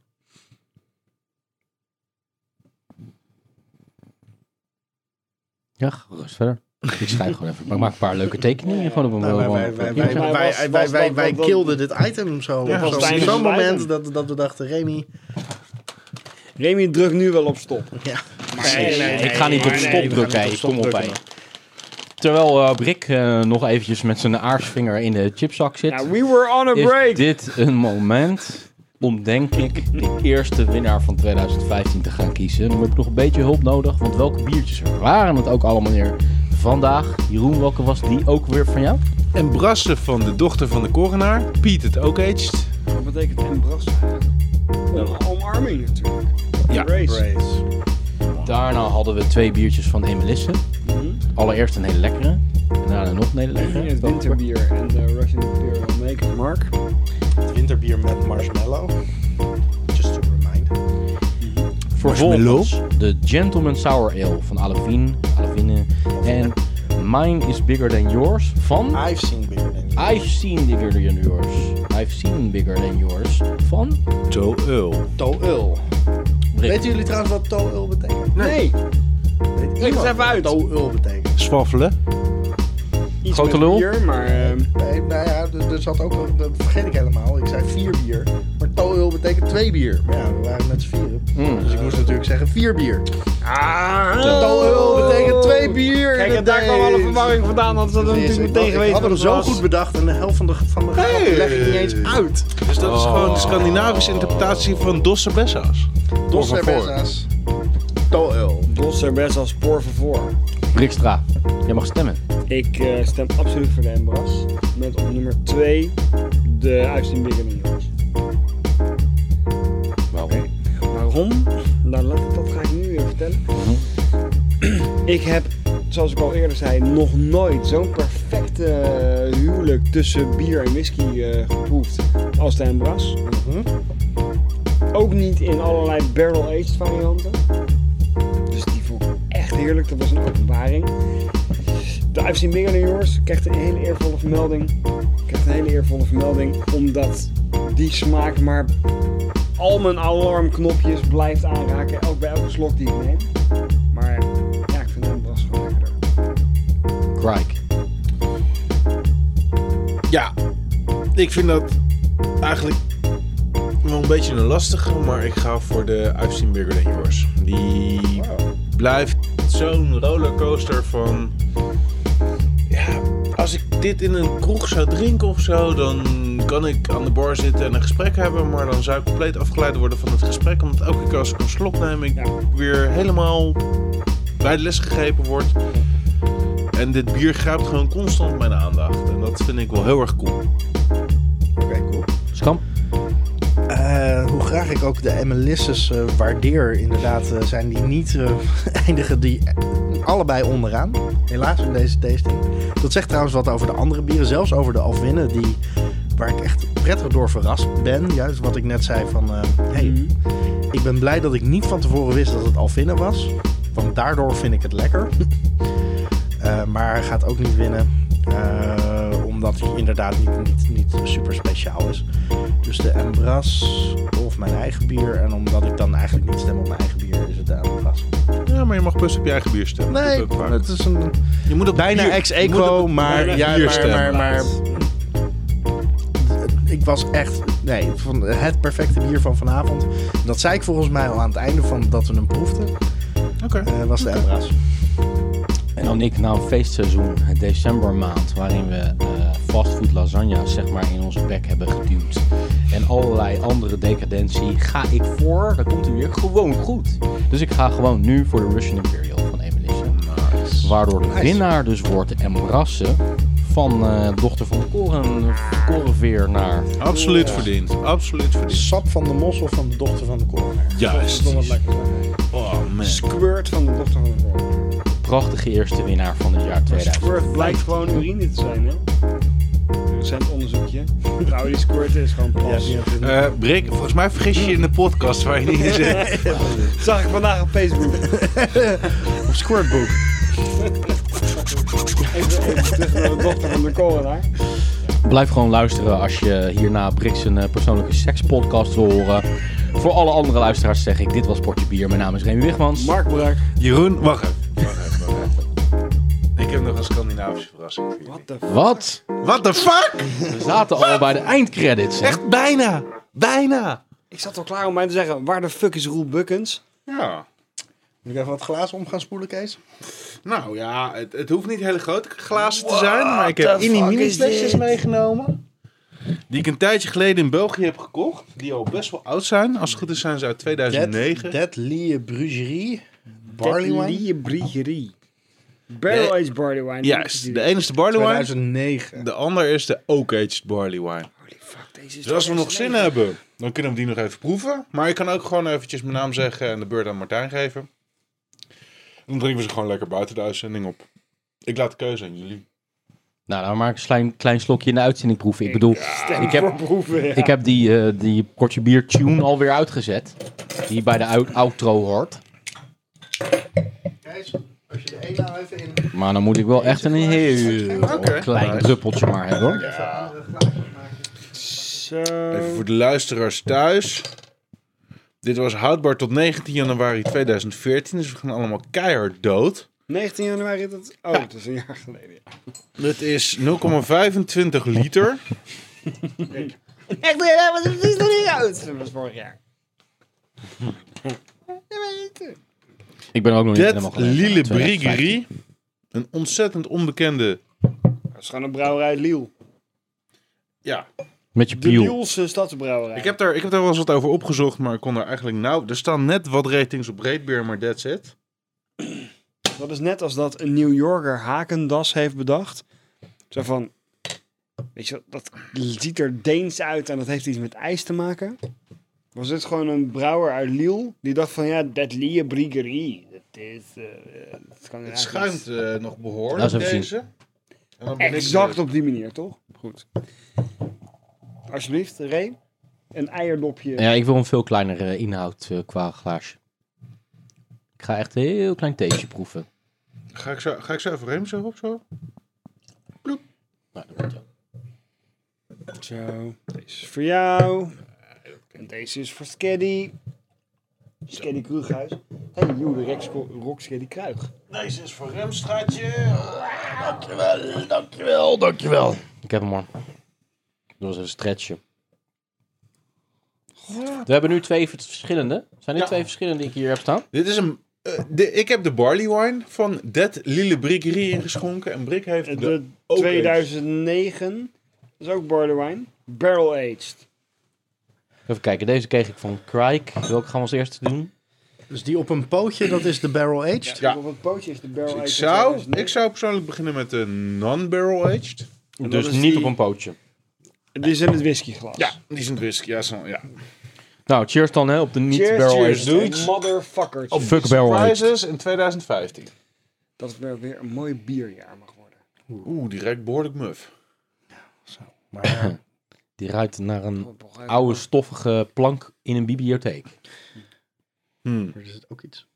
Ja, gerust verder. Ik schrijf gewoon even. Maar ik maak een paar leuke tekeningen gewoon op een
Nou, wij, wij,
gewoon-
wij, wij,
Volgens mij
wij,
was-
wij,
was dat-
wij, wij
dat-
kilden dit item zo.
Ja,
op
was
zo'n-
tijdens
zo'n
het
moment
item.
dat, dat we dachten, Remy...
Remy drukt nu wel op
[laughs]
stop.
Ja.
Nee,
nee,
ik ga niet op stop drukken. hé. Kom op, hé. Terwijl eh Brik eh, nog eventjes met zijn aarsvinger in de chipzak zit,
Ja, Nou, we were on a
is
break.
dit een moment om, denk ik, de eerste winnaar van 2015 te gaan kiezen. Maar ik heb nog een beetje hulp nodig, want welke biertjes waren het ook allemaal weer vandaag? Jeroen, welke was die ook weer van jou?
En Brassen van de dochter van de coronaar, Piet het ook aged.
Wat betekent embrassen? Om, omarming natuurlijk.
Ja.
Embrace.
Daarna hadden we twee biertjes van Emelisse. Allereerst een hele lekkere. En daarna nog een hele lekkere.
Het winterbier en de Russian Imperial Maker Mark.
Het winterbier met marshmallow. Just to remind.
Vervolgens de Gentleman Sour Ale van Alevine. Alevine. En Mine is Bigger Than Yours van...
I've seen bigger than you.
I've seen bigger than yours. I've seen bigger than yours. Van?
Joe Eul.
Toul.
Rick.
Weten jullie trouwens wat Toul betekent?
Nee,
Weet
leg het even uit.
Toul betekent.
Swaffelen.
Iets
Grote
met
lul.
bier, maar ehm,
Nee, nou ja, er er zat ook een- dat vergeet ik helemaal. Ik zei vier bier, maar toil betekent twee bier. Maar ja, we waren met z'n vieren.
Hmm.
Dus ik moest natuurlijk zeggen vier bier. Ah, toil betekent twee bier.
Kijk,
in
en
het
daar kwam
Deens.
alle verwarring vandaan. Anders hadden we
Is-
natuurlijk
ik
meteen geweten.
had hem
wat
zo
het was.
goed bedacht en de helft van de, van de grap
Hey.
leg ik niet eens uit.
Dus dat is gewoon de Scandinavische interpretatie van Dosse Bessa's.
Dos cervezas. Toil.
Dos er best als por favor.
Brikstra. Jij mag stemmen.
Ik eh, stem absoluut voor de Embras. Met op nummer 2 de Uitzien Bigger Than Yours.
Waarom?
Waarom? Nou, laat ik- dat ga ik nu weer vertellen. Ik heb, zoals ik al eerder zei, nog nooit zo'n perfecte eh, huwelijk tussen bier en whisky eh, geproefd als de Embras. Ook niet in allerlei barrel-aged varianten. Dus die vond ik echt heerlijk. Dat was een openbaring. De I've Seen Bigger Than Yours krijgt een hele eervolle vermelding. Krijgt een hele eervolle vermelding omdat die smaak maar al mijn alarmknopjes blijft aanraken. Elk bij elke slok die ik neem. Maar ja, ik vind de Bras gewoon lekkerder.
Crike.
Ja, ik vind dat eigenlijk wel een beetje een lastige, maar ik ga voor de I've Seen Bigger Than Yours. Die blijft zo'n rollercoaster van... Ja, als ik dit in een kroeg zou drinken of zo, dan kan ik aan de bar zitten en een gesprek hebben, maar dan zou ik compleet afgeleid worden van het gesprek, omdat elke keer als ik een slok neem, ik
Ja.
weer helemaal bij de les gegrepen word. En dit bier grijpt gewoon constant mijn aandacht. En dat vind ik wel heel erg cool.
Oké, cool.
Skam.
Eh, hoe graag ik ook de Emelisses eh, waardeer, inderdaad, eh, zijn die niet eh, [laughs] eindigen die allebei onderaan. Helaas in deze tasting. Dat zegt trouwens wat over de andere bieren, zelfs over de Alvinnen, die, waar ik echt prettig door verrast ben. Juist wat ik net zei van, eh, hey,
Mhm.
ik ben blij dat ik niet van tevoren wist dat het Alvinnen was. Want daardoor vind ik het lekker. Eh, maar hij gaat ook niet winnen. eh, omdat hij inderdaad niet, niet, niet super speciaal is. Dus de Embras of mijn eigen bier. En omdat ik dan eigenlijk niet stem op mijn eigen bier, is het de Embras.
Ja, maar je mag best op je eigen bier stemmen. Dat
Nee,
doe ik ook vaak.
het is een
je moet op
bijna
bier-
ex
je moet
equo,
op-
maar,
bijna
ja,
bier
maar,
stemmen.
maar, maar ik was echt nee, van het perfecte bier van vanavond. Dat zei ik volgens mij al aan het einde van dat we hem proefden,
Oké.
eh, was de Embras.
En dan ik na een feestseizoen, het decembermaand, waarin we eh, fastfood lasagna's zeg maar in onze bek hebben geduwd. En allerlei andere decadentie ga ik voor, daar komt hij weer, gewoon goed. Dus ik ga gewoon nu voor de Russian Imperial van Emelisse. Waardoor de winnaar dus wordt de Embrasse van eh, dochter van Koren, Korenveer naar...
Absoluut verdiend. Absoluut verdiend.
Sap van de mossel van de dochter van de corner.
Juist.
Verdomme lekker.
Oh man.
Squirt van de dochter van de vrouw.
Prachtige eerste winnaar van het jaar 2000.
Squirt blijkt gewoon urine te zijn, hè? Een recent onderzoekje. Nou, die squirt is gewoon plas.
Eh, Brik, volgens mij vergis je je in de podcast waar je niet in [laughs] zit.
Zag ik vandaag op Facebook.
Of Squirtbook.
Even, even terug naar de dochter van de coronaar.
Blijf gewoon luisteren als je hierna Brix een eh, persoonlijke sekspodcast wil horen. Voor alle andere luisteraars zeg ik, dit was Portje Bier. Mijn naam is Remy Wigmans.
Mark Brak.
Jeroen, wacht even. Wacht even, wacht even. Ik heb nog een Scandinavische verrassing voor jullie.
What the
Wat?
What the fuck?
We zaten al bij de eindcredits. hè?
Echt bijna. Bijna.
Ik zat al klaar om mij te zeggen, waar de fuck is Roel Bukkens?
Ja.
Moet ik even wat glazen om gaan spoelen, Kees?
Nou ja, het, het hoeft niet hele grote glazen te zijn, maar ik heb in die mini flesjes meegenomen. Die ik een tijdje geleden in België heb gekocht. Die al best wel oud zijn. Als het goed is zijn ze uit 2009.
Deadly Brugerie. Barley Wine.
Deadly Briegerie. Barrel Aged Barley Wine.
Juist, de ene is de barley wine.
2009.
De ander is de oak-aged barley wine.
Holy fuck, deze is
Dus als we nog zin
2009.
hebben, dan kunnen we die nog even proeven. Maar ik kan ook gewoon eventjes mijn naam zeggen en de beurt aan Martijn geven. Dan drinken we ze gewoon lekker buiten de uitzending op. Ik laat de keuze aan jullie.
Nou, dan maak ik een klein, klein slokje in de uitzending proeven. Ik bedoel, ik, heb,
Proeven, ja.
ik heb die, eh, die potje bier tune alweer uitgezet. Die bij de out- outro hoort.
Gijs, als je de ene nou even in
Maar dan moet ik wel echt een heel klein druppeltje maar hebben. hoor.
Zo.
Even voor de luisteraars thuis. Dit was houdbaar tot 19 januari 2014. Dus we gaan allemaal keihard dood.
19 januari, dat... Oh, dat is een jaar geleden. ja.
Het is 0,25 liter.
Echt, ja, maar dat is nog niet uit. Dat was vorig jaar.
Ik ben ook nog niet helemaal
Dat
gelijk.
Lille
2015.
Briggerie. Een ontzettend onbekende.
Dat is gewoon een brouwerij uit Liel.
Ja.
Met je
De
piel.
Lielse stadsbrouwerij.
Ik heb, daar, ik heb daar wel eens wat over opgezocht, maar ik kon er eigenlijk nou. Er staan net wat ratings op Breedbeer, maar that's it.
Dat is net als dat een New Yorker hakendas heeft bedacht. Zo van, weet je, wel, dat ziet er Deens uit en dat heeft iets met ijs te maken. Was dit gewoon een brouwer uit Liel die dacht van ja, dat Lie Briggerie. Dat is, eh, dat kan
Het schuimt eh, nog
Dat
behoorlijk
is even zien.
deze. En dan ben ik eh,
Exact
weer-
op die manier, toch? Goed. Alsjeblieft, Ray. Een eierdopje.
Ja, ik wil een veel kleinere eh, inhoud eh, qua glaasje. Ik ga echt een heel klein theetje proeven.
Ga ik zo, ga ik zo even rem zo of zo?
Nou, dat moet wel.
Zo, deze is voor jou. En deze is voor Skaddy. Skaddy Kruighuis. En hey, Joe de Rex- Rock Skaddy Kruig.
Deze is voor remstraatje.
Ik heb hem al. Dat was een stretchje. We hebben nu twee verschillende. Zijn dit
Ja.
twee verschillende die ik hier heb staan?
Dit is een. eh, de, ik heb de barley wine van Dead Lille Briggerie ingeschonken. En Brik heeft de,
De
oak
2009. Dat is ook borderline. Barrel aged.
Even kijken, deze kreeg ik van Crike. Welke gaan we als eerste doen?
Dus die op een pootje, dat is de barrel aged.
Ja.
Op het pootje is de barrel
aged.
aged.
Ik zou, ik zou persoonlijk beginnen met de non-barrel aged.
dat
Dus
is
niet
die-
op een pootje.
Die is in het whiskyglas.
Ja, die is een whisky. Ja, zo, ja.
Nou, cheers dan hè, op de
Cheers, cheers,
niet-barrel-aged
dudes. Motherfuckers.
Of fuck barrel-aged.
Prizes in 2015.
Dat het weer een mooi bierjaar mag worden.
Oeh, die ruikt behoorlijk muf.
Maar
Die ruikt naar een oude stoffige plank in een bibliotheek.
Hmm,
er zit ook iets.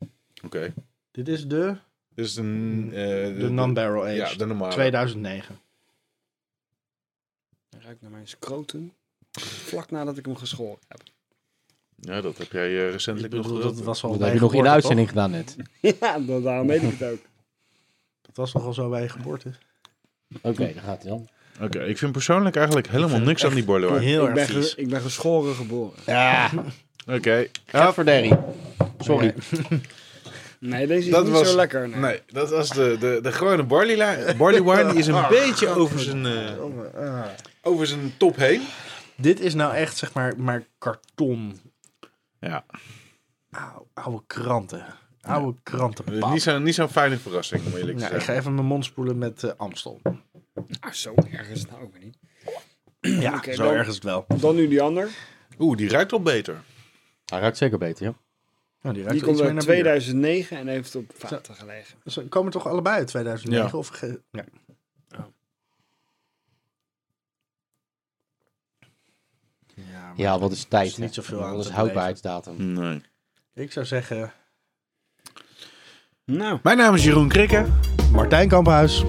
Oké.
Dit is de,
Dit is een... eh,
de non-barrel aged.
Ja, de normale.
2009.
Hij ruikt naar mijn scrotum. Vlak nadat ik hem geschoren [laughs] heb.
Ja, dat heb jij eh,
Ik
recentelijk
bedoel,
nog
dat was al
Dat
bij
heb je nog in de
geboorte,
uitzending gedaan net.
Ja, dat- daarom weet ik het ook.
toch? Dat was nog al zo bij je geboorte.
Oké, daar gaat hij dan.
Oké, ik vind persoonlijk eigenlijk helemaal niks aan die bordeaux. Oké,
Heel
ik, ben ge- ik ben geschoren geboren.
Gadverderrie. Sorry.
Nee, deze is
Dat
niet
was-
zo lekker. Nee.
Nee, dat was de, de, de gewone barley, li- barley wine. Die is een beetje over zijn, eh, over zijn top heen.
Dit is nou echt, zeg maar, maar karton.
Ja.
Au, oude kranten. Oude krantenpap.
Eh, Niet zo'n niet zo'n fijne verrassing, om eerlijk te
Nou, ik
zeggen.
ga even mijn mond spoelen met eh, Amstel.
Ah, zo erg is het nou ook weer niet.
Ja,
Oké,
zo
dan-
erg is het wel. Nou,
Dan nu die ander.
Oeh, die ruikt al beter.
Hij ruikt zeker beter, ja.
Nou,
Die
die ruikt wel iets
komt
meer
uit
naar
2009 en heeft op vaten gelegen.
bier. Dus Ze komen toch allebei uit 2009?
Ja.
Of ge- ja. Ja, maar
Ja, wat is tijd?
is niet
hè?
zoveel aan
Wat is
te
houdbaarheidsdatum?
Nee.
ik zou zeggen...
Nou,
Mijn naam is Jeroen Krikke.
Martijn Kamphuis.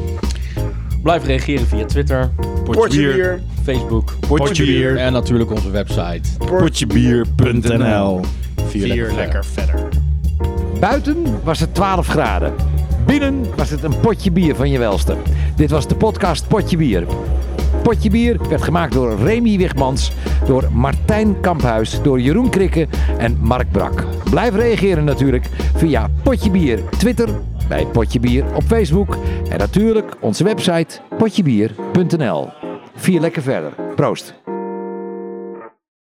Blijf reageren via Twitter,
potje bier.
Facebook,
Potjebier.
en natuurlijk onze website.
Potjebier.nl
Vier,
verder.
Buiten was het 12 graden. Binnen was het een potje bier van je welste. Dit was de podcast Potje Bier. Potje Bier werd gemaakt door Remy Wigmans, door Martijn Kamphuis, door Jeroen Krikke en Mark Brak. Blijf reageren natuurlijk via Potje Bier Twitter, bij Potje Bier op Facebook en natuurlijk onze website potjebier.nl. Vier lekker verder. Proost.